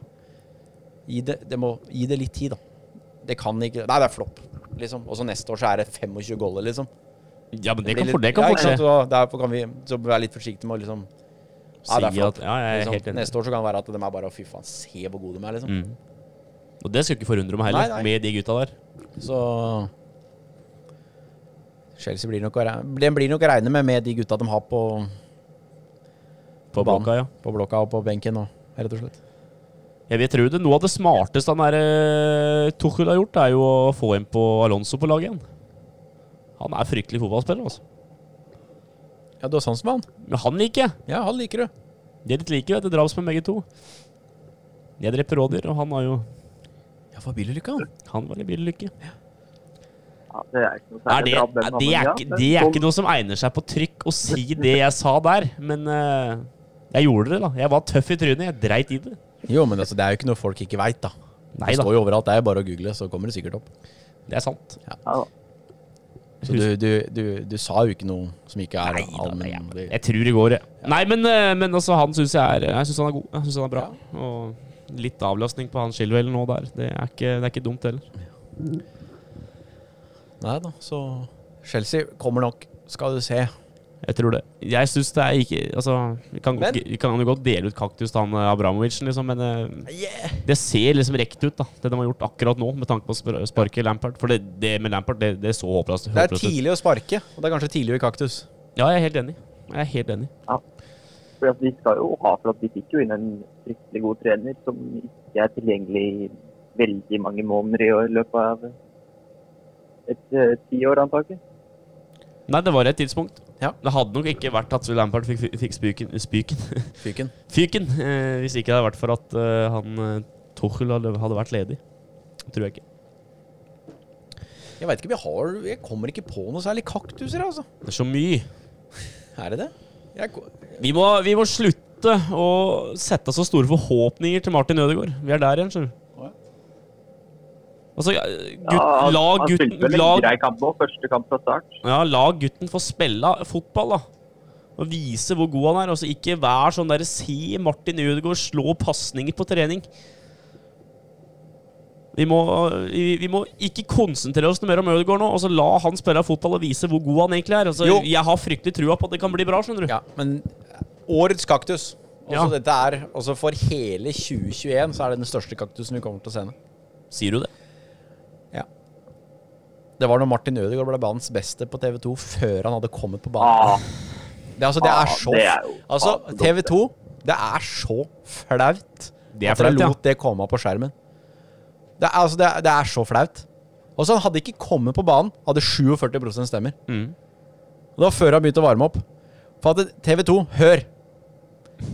gi det, det må, gi det litt tid, da. Det kan ikke Nei, det er flopp, liksom. Og så neste år så er det 25 goller, liksom.
ja, men det,
blir
kan, for, det
litt-
kan
ja,
fort
ikke sant?
skje.
Og Derfor kan vi så være litt forsiktige med å liksom Ja, det er
Si
flott.
at- ja, jeg er
liksom,
helt enig.
Neste år så kan det være at de er bare Fy faen, se hvor gode de er, liksom.
Mm. Og det skal ikke forundre meg heller,
Nei, nei.
med de gutta der.
Så Chelsea blir nok å, re- den blir nok å regne med med de gutta de har på,
På
banen.
blokka, ja.
på blokka og på benken. Og, rett og slett.
Jeg vil tro det. Noe av det smarteste han der, eh, Tuchel har gjort, er jo å få inn på Alonso på laget igjen. Han er fryktelig fotballspiller, altså.
Ja, du har sans for han?
Men han liker jeg.
Ja, han liker du.
De er litt like, vet du. Drapsmenn begge to. Jeg dreper rådyr, og han har jo
Ja, for Billylykka, han.
Han var i billykke.
Ja, det er ikke noe
Er
særlig
det,
bra, den
er det, er
mannen,
ikke,
ja.
det er
Sånn-
ikke noe som egner seg på trykk å si det jeg sa der, men eh, jeg gjorde det, da. Jeg var tøff i trynet. Jeg dreit i det.
Jo, men altså, det er jo ikke noe folk ikke veit, da.
Nei
det
da,
står jo overalt. Det er jo bare å google, så kommer det sikkert opp.
det er sant.
Ja, da.
Så du, du, du, du sa jo ikke noe som ikke er
Nei da, det er,
allmenn.
jeg tror det går, jeg. Nei, men, eh, men altså, han syns jeg er Jeg syns han er god. Jeg synes han er bra. Og litt avlastning på han Shilwell nå der. Det er ikke, det er ikke dumt heller.
Nei da, så Chelsea kommer nok, skal du se.
Jeg tror det. Jeg syns det er ikke Altså, vi kan,
Men-
godt- vi kan jo godt dele ut kaktus til han eh, Abramovicen, liksom, men eh, Det ser liksom rekt ut, da det de har gjort akkurat nå, med tanke på å spar- sparke Lampard. For det, det med Lampard, det, det er så håpløst
Det er
håpløst ut.
tidlig å sparke, og det er kanskje tidlig i kaktus.
Ja, jeg er helt enig. Jeg er helt enig.
For at de skal jo ha for at de fikk jo inn en fryktelig god trener som ikke er tilgjengelig i veldig mange måneder i år, i løpet av et eh, tiår, antakelig.
Nei, det var et tidspunkt.
Ja.
Det hadde nok ikke vært at Lampard fikk, fikk spyken, spyken
Fyken.
Fyken! Eh, hvis ikke det hadde vært for at eh, han eh, Tuchel hadde, hadde vært ledig. Det Tror jeg ikke.
Jeg veit ikke, vi har Jeg kommer ikke på noe særlig kaktuser, altså.
Det er så mye.
Er det det? Jeg, ko-
Vi må, vi må slutte å sette så store forhåpninger til Martin Ødegaard. Vi er der igjen, skjønner du.
Å ja.
Altså, gutt,
Ja, han,
la
han
gutten
spilte vel
la,
en grei kamp òg, første kamp fra start.
Ja, la gutten få spille fotball, da. Og vise hvor god han er. Altså, ikke vær sånn derre Si Martin Ødegaard slå pasninger på trening. Vi må, vi, vi må ikke konsentrere oss noe mer om Ødegaard nå. Og så la han spille fotball og vise hvor god han egentlig er. Altså,
Jo.
jeg har fryktelig trua på at det kan bli bra, skjønner du.
ja, men eh, årets kaktus. Også
Ja.
dette er, også for hele 2021 så er det den største kaktusen vi kommer til å sende.
Sier du det?
Det var når Martin Ødegaard ble banens beste på TV 2 før han hadde kommet på banen.
Ah,
Det, altså, det
ah,
er så
det er jo
Altså,
faen
TV 2 Det er så flaut
Det er
at dere
flaut, ja.
lot det komme opp på skjermen. Det er, altså, det er, det er så flaut. Og så han hadde ikke kommet på banen, hadde 47 stemmer.
Mm.
Og det var før han begynte å varme opp. For at TV 2, hør!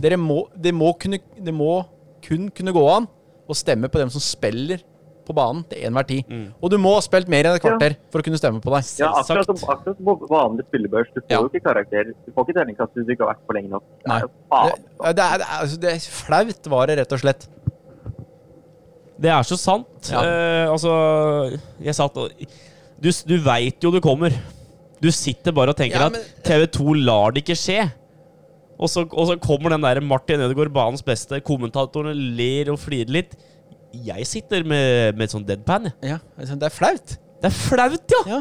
Dere må, det, må kunne, det må kun kunne gå an å stemme på dem som spiller på banen til enhver tid. Og du må ha spilt mer enn et kvarter for å kunne stemme på deg.
Ja, akkurat som,
Selvsagt.
akkurat som på vanlig spillebørs. Du får
Ja.
jo ikke karakter. Du får ikke terningkast hvis du ikke har vært for lenge nok. Det
Nei.
er jo
Det,
faen.
det, er, det, er, altså, det er flaut, var det rett og slett.
Det er så sant.
Ja.
Eh, altså, jeg satt og Du, du veit jo det kommer. Du sitter bare og tenker
Ja, men-
at TV2 lar det ikke skje. Og så, og så kommer den der Martin Ødegaard, banens beste. Kommentatorene ler og flirer litt. Jeg sitter med, med et sånt deadpan. jeg.
Ja, liksom, Det er flaut.
Det er flaut, ja!
Ja.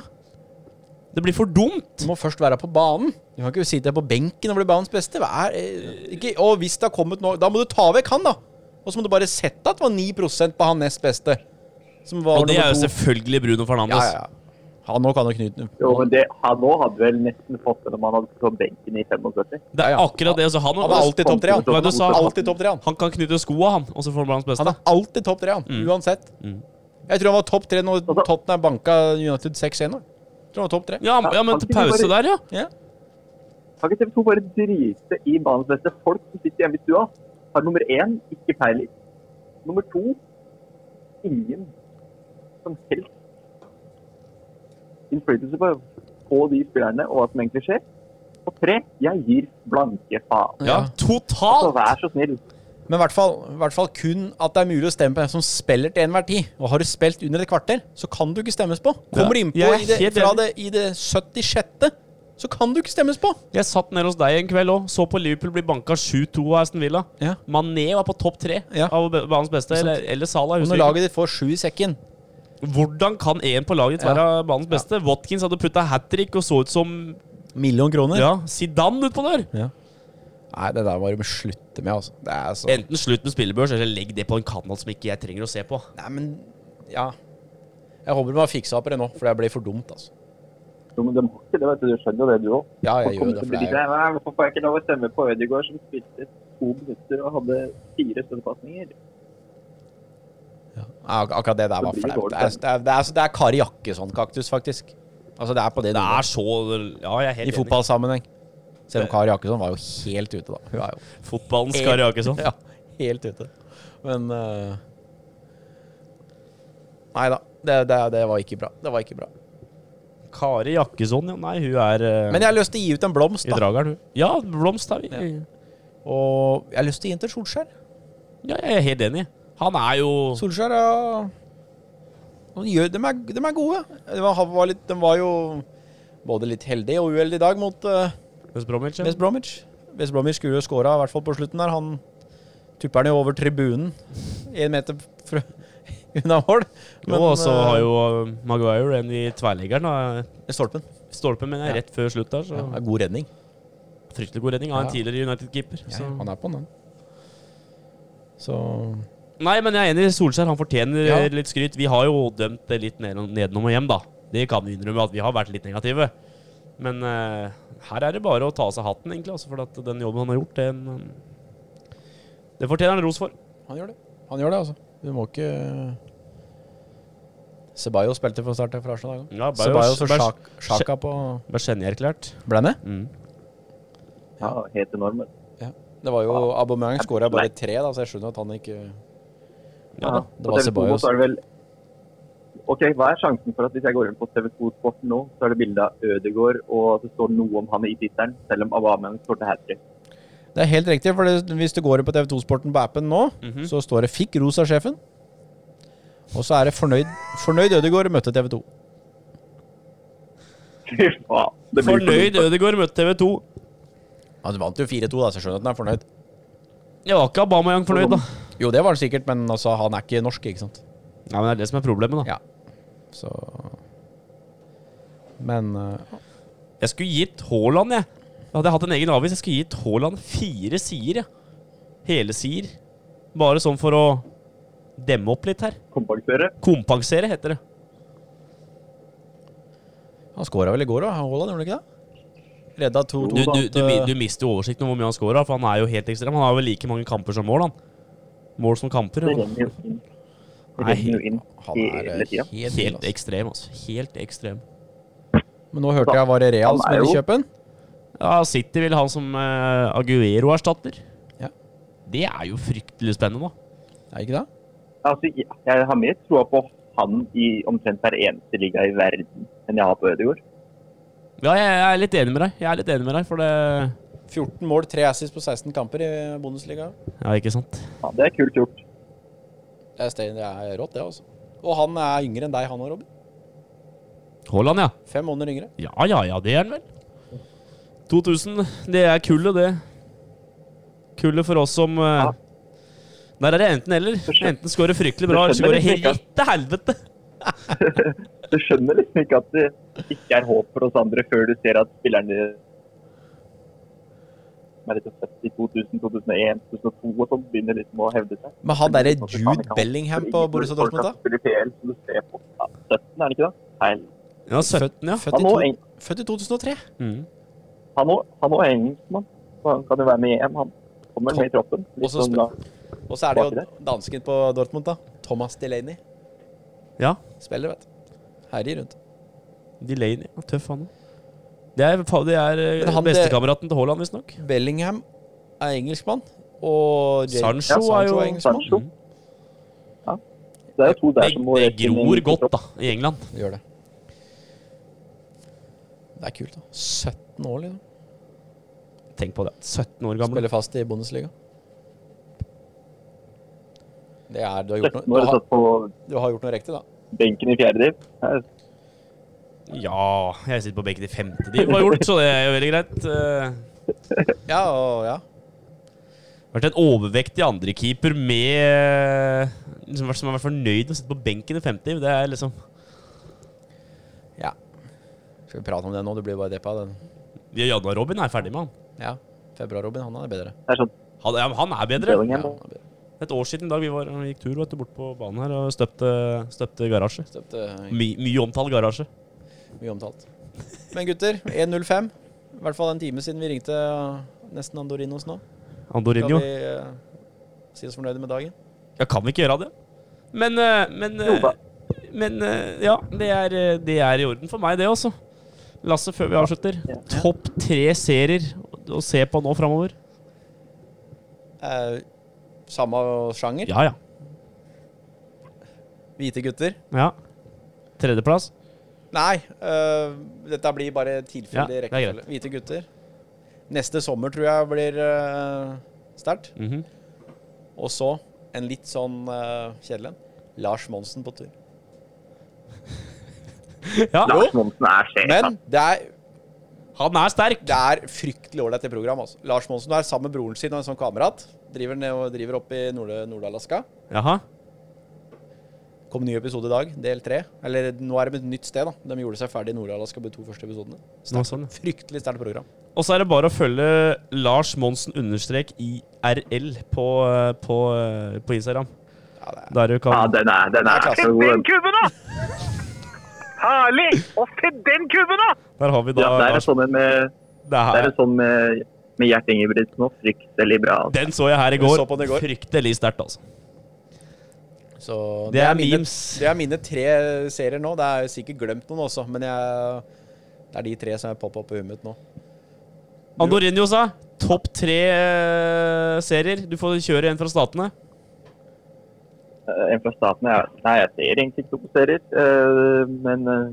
Det blir for dumt.
Du må først være på banen. Du kan ikke sitte på benken og bli banens beste. Hva er, eh, ikke, og hvis det har kommet noe Da må du ta vekk han, da. Og så må du bare sette at det var 9 på han nest beste. Som var
Og det
nummer
er jo
to.
selvfølgelig Bruno
ja,
Fernandes.
ja, ja. Han nå kan jo knyte
Jo, men det, han nå hadde vel nesten fått det når man hadde stått på benken i 75.
Det er
Ja, ja.
akkurat det. Så han,
Han er alltid topp tre, han.
Hva er det du sa?
Alltid topp tre, han.
han kan knytte skoa, han, og så får han banens beste.
Han er alltid topp tre, han.
Mm.
Uansett. Jeg tror han var topp tre når
Altså-
Tottenham banka United 6-1. nå. Jeg tror han var topp tre.
Ja, ja, men
Han
til
kunne
pause
bare-
der, ja.
Ja.
Kan ikke TV 2 bare drite i banens beste folk som sitter hjemme i stua? Har nummer én ikke peiling. Nummer to ingen som helst innflytelse på, på de spillerne og hva som egentlig skjer. Og tre, jeg gir blanke faen.
Ja,
Ja.
Så
totalt!
vær så snill.
Men i hvert, fall, i hvert fall kun at det er mulig å stemme på en som spiller til enhver tid. Og har du spilt under et kvarter, så kan du ikke stemmes på. Kommer du
Jeg
innpå
er
i det,
helt
fra
enig.
det, i det 76., så kan du ikke stemmes på.
Jeg satt nede hos deg en kveld òg. Så på Liverpool bli banka 7-2 av Aston Villa.
Ja.
Mané var på topp tre
Ja.
av be- banens beste.
sant.
Eller, eller Salah. jeg
Og når
Husker ikke.
laget ditt får sju i sekken
Hvordan kan én på laget ditt
Ja.
være banens beste? Watkins hadde putta hat trick og så ut som
Million kroner.
ja, Zidane utpå der.
Nei, det der må du slutte med, altså. Det er så
Enten slutt med spillebørs, eller legg det på en kanal som ikke jeg trenger å se på.
Nei, men Ja. Jeg håper de har fiksa opp det nå, for det blir for dumt, altså.
Jo, men de har ikke det, vet du. Du skjønner jo det, du òg.
Ja, jeg gjør det. For det er,
Hvorfor får jeg ikke lov å stemme på Ødegaard, som spilte to minutter og hadde fire støttepasninger?
Ja, ak- akkurat det der var
Det blir
flaut.
dårlig
Det er, det er, det er, det er Kari Jakkesson-kaktus, faktisk. Altså, det er på det
Det
nivået.
er så Ja, jeg er helt enig.
I fotballsammenheng. Selv om Kari Jakkesson var jo helt ute, da. Hun er jo
Fotballens Kari Jakkesson.
Ja, helt ute. Men eh, Nei da. Det, det, det var ikke bra. Det var ikke bra.
Kari Jakkesson, ja. Nei, hun er eh,
Men jeg har lyst til å gi ut en blomst,
i
da.
drageren, hun. Ja, blomst er vi.
Og jeg har lyst til å gi den til Solskjær.
Ja, jeg er helt enig. Han er jo
Solskjær ja. de, gjør, de, er, de er gode. De var, han var, litt, de var jo både litt heldige og uheldige i dag mot eh,
West Bromwich. ja.
West Bromwich. West Bromwich skulle jo skåra, i hvert fall på slutten der. Han tupper den jo over tribunen, én meter fra, unna mål.
Jo, og så
eh,
har jo eh, Maguire en i tverrliggeren. da.
Stolpen.
Stolpen mener jeg
Ja.
rett før slutt der, så
Ja, det er god redning.
fryktelig god redning av en
Ja.
tidligere United-keeper.
Ja,
så-
han er på den, han. Så
Nei, men jeg er enig. Solskjær han fortjener
Ja.
eh, litt skryt. Vi har jo dømt det litt ned- nedenom og hjem, da. Det kan vi innrømme at vi har vært litt negative. Men eh, her er det bare å ta av seg hatten, egentlig. Altså, for at den jobben han har gjort, den, eh, det fortjener han ros for.
han gjør det. Han gjør det, altså. Du må ikke Ceballos spilte for start her for Arsenal. i dag.
Ja, Bayo-
Ceballos og
Bayo-
Sjak- Sjaka på
Ble genierklært.
Ble han det?
Mm.
Ja, helt enormt.
Det var jo Aubameyang skåra bare tre, da, så jeg skjønner at han ikke
Ja da.
det
På
var
TV2
Ceballos.
så er det vel Ok, hva er sjansen for at hvis jeg går inn på TV2 Sporten nå, så er det bilde av Ødegaard, og at det står noe om han i tittelen, selv om Aubameyang skåret hat trick?
Det er helt riktig, for det, hvis du går inn på TV2-sporten på appen nå,
Mhm.
så står det 'fikk ros av sjefen'. Og så er det 'fornøyd, fornøyd Ødegaard møtte TV2'.
Fy faen. det blir for
Fornøyd Ødegaard møtte TV 2.
Han vant jo 4-2, da, så jeg skjønner at han er fornøyd.
Jeg var ikke Abamayang fornøyd, da.
Jo, det var han sikkert, men altså, han er ikke norsk, ikke sant.
Ja, men Det er det som er problemet, da.
Ja. Så Men eh,
Jeg skulle gitt Haaland, jeg. Da hadde jeg hatt en egen avis. Jeg skulle gitt Haaland fire sider, jeg. Hele sider. Bare sånn for å demme opp litt her.
dumt å Kompensere.
Kompensere, heter det.
han skåra vel i går òg, Haaland, gjorde han ikke det? Redda 2-2.
Du, du,
blant,
du, mi-
eh,
du mister jo oversikten over hvor mye han scorer, for han er jo helt ekstrem. Han har vel like mange kamper som mål, han. Mål som kamper.
Det
og
renner jo inn. Det
Nei,
renner jo inn
han er eh,
hele tida.
helt vill,
Helt
altså.
ekstrem, altså. Helt ekstrem.
Men nå hørte jeg var det Real
Han
som
er
ville
jo-
kjøpe den.
Ja, City vil ha han som eh, Aguero-erstatter.
Ja.
Det er jo fryktelig spennende, da.
Er det ikke det?
Altså, jeg- jeg har mer troa på han i omtrent hver eneste liga i verden enn jeg har på Ødegaard.
Ja, jeg, jeg er litt enig med deg. Jeg er litt enig med deg, for det
14 mål, 3 assists på 16 kamper i Bundesliga.
Ja, ikke sant?
Ja, det er kult gjort.
Det er, stein- det er rått, det, altså. Og han er yngre enn deg, han òg, Robin.
Haaland, ja.
Fem måneder yngre.
Ja, ja, ja, det er han vel. 2000, det er kullet, det. Kullet for oss som eh,
Ja.
Der er det enten-eller. Enten så går det fryktelig bra,
Jeg
eller så går det
skjønner
helt
ikke.
til helvete.
Du skjønner liksom ikke at det ikke er håp for oss andre før du ser at spillerne som er litt født i 2000, 2001, 2002 og sånn, begynner liksom å hevde seg.
Men han derre
Folk kan
Jude
ikke ha-
Bellingham på Borussia
Folk
Dortmund,
kan
da?
spille PL, som du ser på. Ja, 17, er det ikke det? Nei.
Ja, 17, ja.
Født
Han
i,
nå,
to,
eng-
født i 2003.
Mm.
han nå, han nå er engelskmann, så han kan jo være med i EM. Han kommer med i troppen.
Og så
Litt sånn,
spør-
da.
Og så er det jo dansken på Dortmund, da. Thomas Delaney.
Ja.
Spiller, vet du. Herjer rundt.
Delaney. Ja, tøff, han òg. Det er, fa- det er eh,
Men han-
bestekameraten til Haaland, visstnok.
Bellingham er engelskmann. Og Jay-
Sancho er jo-
engelskmann.
Sancho.
Mm.
Ja. Det er jo to
Det,
der som må
det
rett inn i en
gror godt,
tropp.
da, i England.
Det gjør det. Det er kult, da. 17 år, liksom.
Tenk på det. 17 år gamle.
Spiller fast i Bundesliga. Det er Du har gjort
17
noe, du
år og
har,
satt på
du har gjort noe riktig, da.
benken i fjerde div. Ja,
Ja, jeg sitter på benken i femte div, har gjort, så det er jo veldig greit. Eh,
Ja, og ja.
vært en overvektig andrekeeper med eh, liksom, vært- Som har vært fornøyd med å sitte på benken i femte div. Det er liksom
ja. Skal vi prate om det nå? Du blir bare deppa av den.
Janna Robin er ferdig med han.
Ja. Februar-Robin, han er bedre.
Det er sånn
Han, ja, men han er bedre.
Ja,
Bellingham.
han er bedre.
Et år siden i dag vi var, gikk tur vet du, bort på banen her og støpte, støpte garasje.
Støpte eh,
My, mye omtalt garasje.
mye omtalt. Men gutter, 1.05. I hvert fall en time siden vi ringte eh, nesten Andorinos nå. Skal
Andorinho.
vi eh, si oss fornøyde med dagen?
Ja, kan vi ikke gjøre det? Men eh, Men, eh,
Jo da.
men eh, ja, det er, eh, det er i orden for meg, det også. Lasse, før vi avslutter. Topp tre serier å- å se på nå framover?
Eh, samme sjanger.
Ja, ja.
Hvite gutter.
ja. Tredjeplass?
Nei, øh, dette blir bare tilfeldig
Ja, det er
rekkefølge. Hvite gutter. Neste sommer tror jeg blir øh, sterkt.
Mhm.
Og så en litt sånn øh, kjedelig en. Lars Monsen på tur.
Ja,
Lars Monsen er sjef. ass.
Men det er,
han er sterk.
det er fryktelig ålreit, det program. Altså. Lars Monsen er sammen med broren sin og en sånn kamerat. Driver, ned og driver opp i Nord- Nord-Alaska.
Jaha.
Kom ny episode i dag, del tre. Eller nå er det et nytt sted, da. De gjorde seg ferdig i Nord-Alaska på de to første episodene.
Nå sånn, ja.
Fryktelig sterkt program.
Og så er det bare å følge Lars Monsen understrek IRL på, eh, på, eh, på Instagram.
Ja, det er
Der du
Ja,
kan
den er,
Det
den er,
er klasse.
så god.
Den kubben, da! Herlig! Og se den kubben, da!
Der har vi da
Ja, det er
Lars.
sånn en med,
Det
det er
er,
en sånn med, med Gjert Ingebrigtsen òg. Fryktelig bra. ass.
den så jeg her i
Vi
går.
så på den i går.
Fryktelig sterkt, altså.
Så
Det er
mine,
memes.
Det er mine tre serier nå. Det er sikkert glemt noen også, men jeg, det er de tre som er poppa opp i huet mitt nå.
Andorinho sa topp tre eh, serier. Du får kjøre en fra statene.
Eh, En fra staten jeg, Nei, jeg ser egentlig ikke noen serier. eh, Men eh,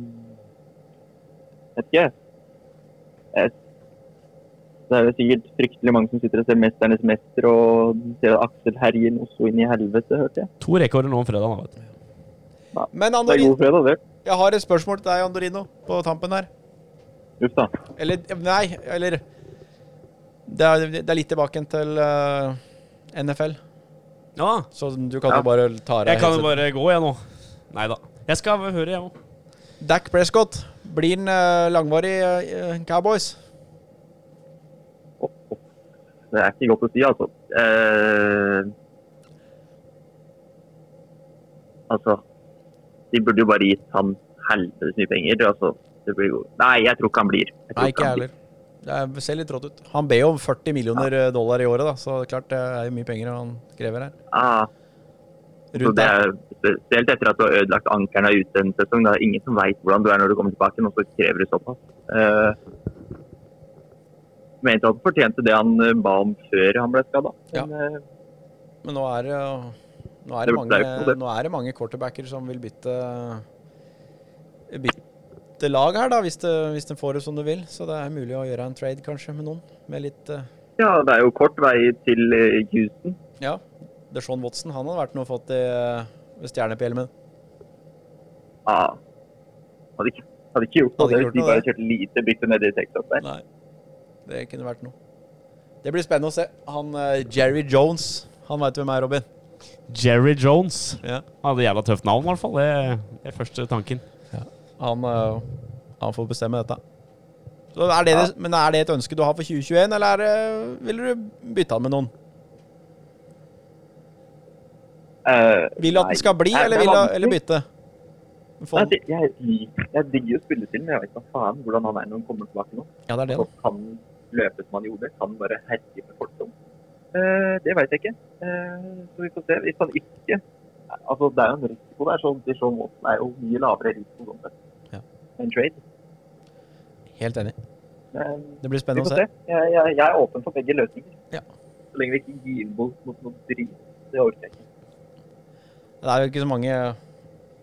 vet ikke. Jeg- Det er jo sikkert fryktelig mange som sitter og ser 'Mesternes mester' og ser at Aksel herjer Oslo inn i helvete, hørte jeg.
To rekorder nå om fredagen. da, Vet du.
Men
Det er
Andorino,
god fredag, det.
jeg har et spørsmål til deg, Andorino, på tampen her.
Uff da.
Eller Nei, eller Det er, det er litt tilbake igjen til eh, NFL,
Ja,
så du kan
Ja.
jo bare ta av
jeg kan jo bare
headsetet.
gå, jeg nå. Nei da. Jeg skal høre, jeg òg.
Dak Prescott, blir han eh, langvarig eh, Cowboys?
Opp, opp. Det er ikke godt å si, altså. Eh, altså De burde jo bare gitt han helvetes mye penger. Altså, det blir jo Nei, jeg tror ikke han blir. Jeg tror
Nei, ikke jeg
han
heller.
blir.
Det er- ser litt rått ut. Han ber jo om 40 millioner eh, dollar i året, da, så det er klart det er jo mye penger han krever her.
Ah, så
Rundt
det
der.
er spesielt etter at du har ødelagt ankelen av ute en sesong. Det er ingen som veit hvordan du er når du kommer tilbake, og så krever du såpass. Eh, mente at han fortjente det han eh, ba om før han ble eh, skada.
Ja. Men nå er det jo- nå er det,
Det ble jo
mange,
det.
nå er det mange quarterbacker som vil bytte bytte lag her, da, hvis, det, hvis de får det som du vil. Så det er mulig å gjøre en trade, kanskje, med noen. Med litt eh,
ja, det er jo kort vei til eh, Houston.
Ja. Deshaun Watson, han hadde vært noe fått i eh, stjerne på hjelmen.
Ah. Hadde, ikke, hadde ikke gjort
Hadde ikke
noe hvis
gjort
de
noe,
bare
det.
kjørte lite bytte ned i Texas der.
Nei. Det kunne vært noe. Det blir spennende å se. Han eh, Jerry Jones, han veit hvem er, Robin.
Jerry Jones.
Ja.
Han hadde jævla tøft navn, i hvert fall. Det, det er første tanken.
Han, eh, han får bestemme dette. Så er det, det, men er det et ønske du har for 2021, eller er det, vil du bytte han med noen?
Eh,
Vil du at
nei.
den skal bli,
Nei,
eller,
det er
vil du,
vanskelig.
eller bytte? Få
Nei,
den.
det- Jeg, lik- jeg digger jo spillestilen, men jeg vet ikke faen hvordan han er når han kommer tilbake nå.
Ja, det er det,
Så kan han løpe som han gjorde, kan han bare herje med folk som. Eh, det vet jeg ikke. Eh, så vi får se. Hvis han ikke Altså, det er jo en risiko der, så det er jo mye lavere risiko sånn sett
Ja.
enn trade.
da. Helt enig.
Men
Det blir
vi
spennende
får
å
se.
se.
Jeg, jeg, jeg er åpen for begge løsninger.
Ja.
Så lenge vi ikke gir bort mot noe drit. Det orker jeg ikke.
Det er jo ikke så mange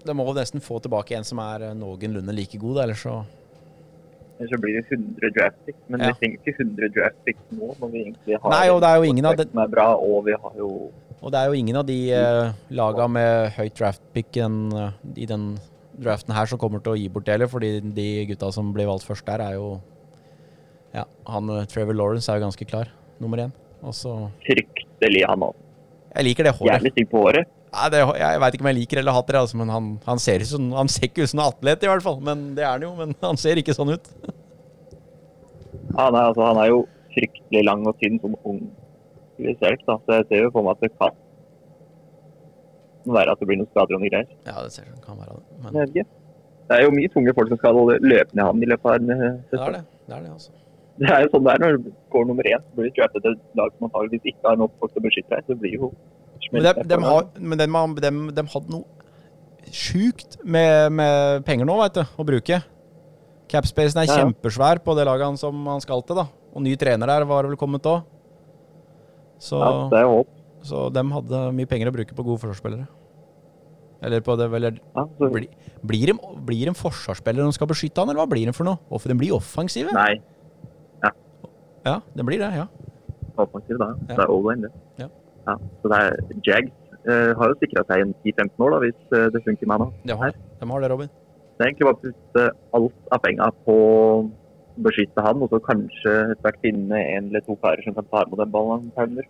Det må jo nesten få tilbake en som er eh, noenlunde like god, da, ellers så
Ellers så blir det 100 draft picks, men
Ja.
vi trenger ikke 100 draft picks nå når vi egentlig har
Nei, og det er jo ingen av de-
som er bra, og vi har jo
Og det er jo ingen av de eh, laga med høyt draftpick i den, eh, i den draften her som kommer til å gi bort det heller, fordi de gutta som blir valgt først der, er jo Ja, han eh, Trevor Lawrence er jo ganske klar, nummer én. Og så
fryktelig han også.
Jeg liker det håret.
Jævlig stygg på håret.
Nei, det, jeg veit ikke om jeg liker eller hater det, altså, men han, han, ser ut som, han ser ikke ut som en atlet, i hvert fall. Men det er han jo, men han ser ikke sånn ut.
Han er, altså, han er jo fryktelig lang og tynn som ung selv, da. så jeg ser jo for meg at det kan være at det blir noen skader og noen greier.
Ja, det ser sånn kan være det. Men
Jeg vet ikke. Det er jo mye tunge folk som skal løpe ned ham i løpet av en eh,
det
sesong.
er det. Det er det, altså.
Det er jo sånn det er når du går nummer én. Så blir du draftet til et lag som antageligvis ikke har nok folk til å beskytte deg. Så blir jo
Men, de, dem har, men dem, har- dem, dem hadde noe sjukt med, med penger nå, vet du, å bruke. Capspacen er
Ja, ja.
kjempesvær på det laget han som han skal til, da. Og ny trener der var det vel kommet òg. Så,
ja, det er jo håp.
så dem hadde mye penger å bruke på gode forsvarsspillere. Eller på det Eller
Ja, så,
bli, blir, de, blir de forsvarsspillere de skal beskytte han, eller hva blir de for noe? Hvorfor de blir offensive?
nei,
Ja, de blir det, ja.
offensiv da.
Ja.
Det er all-in, det.
Ja.
så det er Jags eh, har jo sikra seg en 10-15 år da, hvis eh, det funker med han. da.
De har, de har det, Robin.
Det er egentlig bare å putte alt av penga på å beskytte han, og så kanskje etter hvert finne en eller to karer som kan ta imot den ballen. han feiler.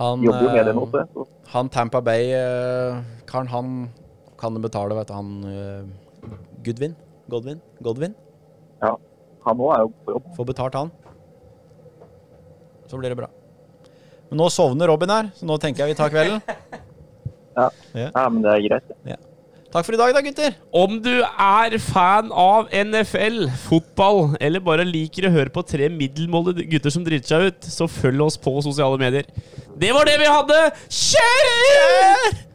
Han
Jobber jo med det
eh,
nå, så. så-
Han Tampa Bay-karen, han kan det betale, vet du. Han eh, Goodwin. Godwin. Godwin.
Han òg er jo på jobb.
Får betalt, han. Så blir det bra. Men nå sovner Robin her, så nå tenker jeg vi tar kvelden.
Ja, men det er greit. det.
Takk for i dag, da, gutter.
Om du er fan av NFL, fotball, eller bare liker å høre på tre middelmådige gutter som driter seg ut, så følg oss på sosiale medier. Det var det vi hadde! Kjør!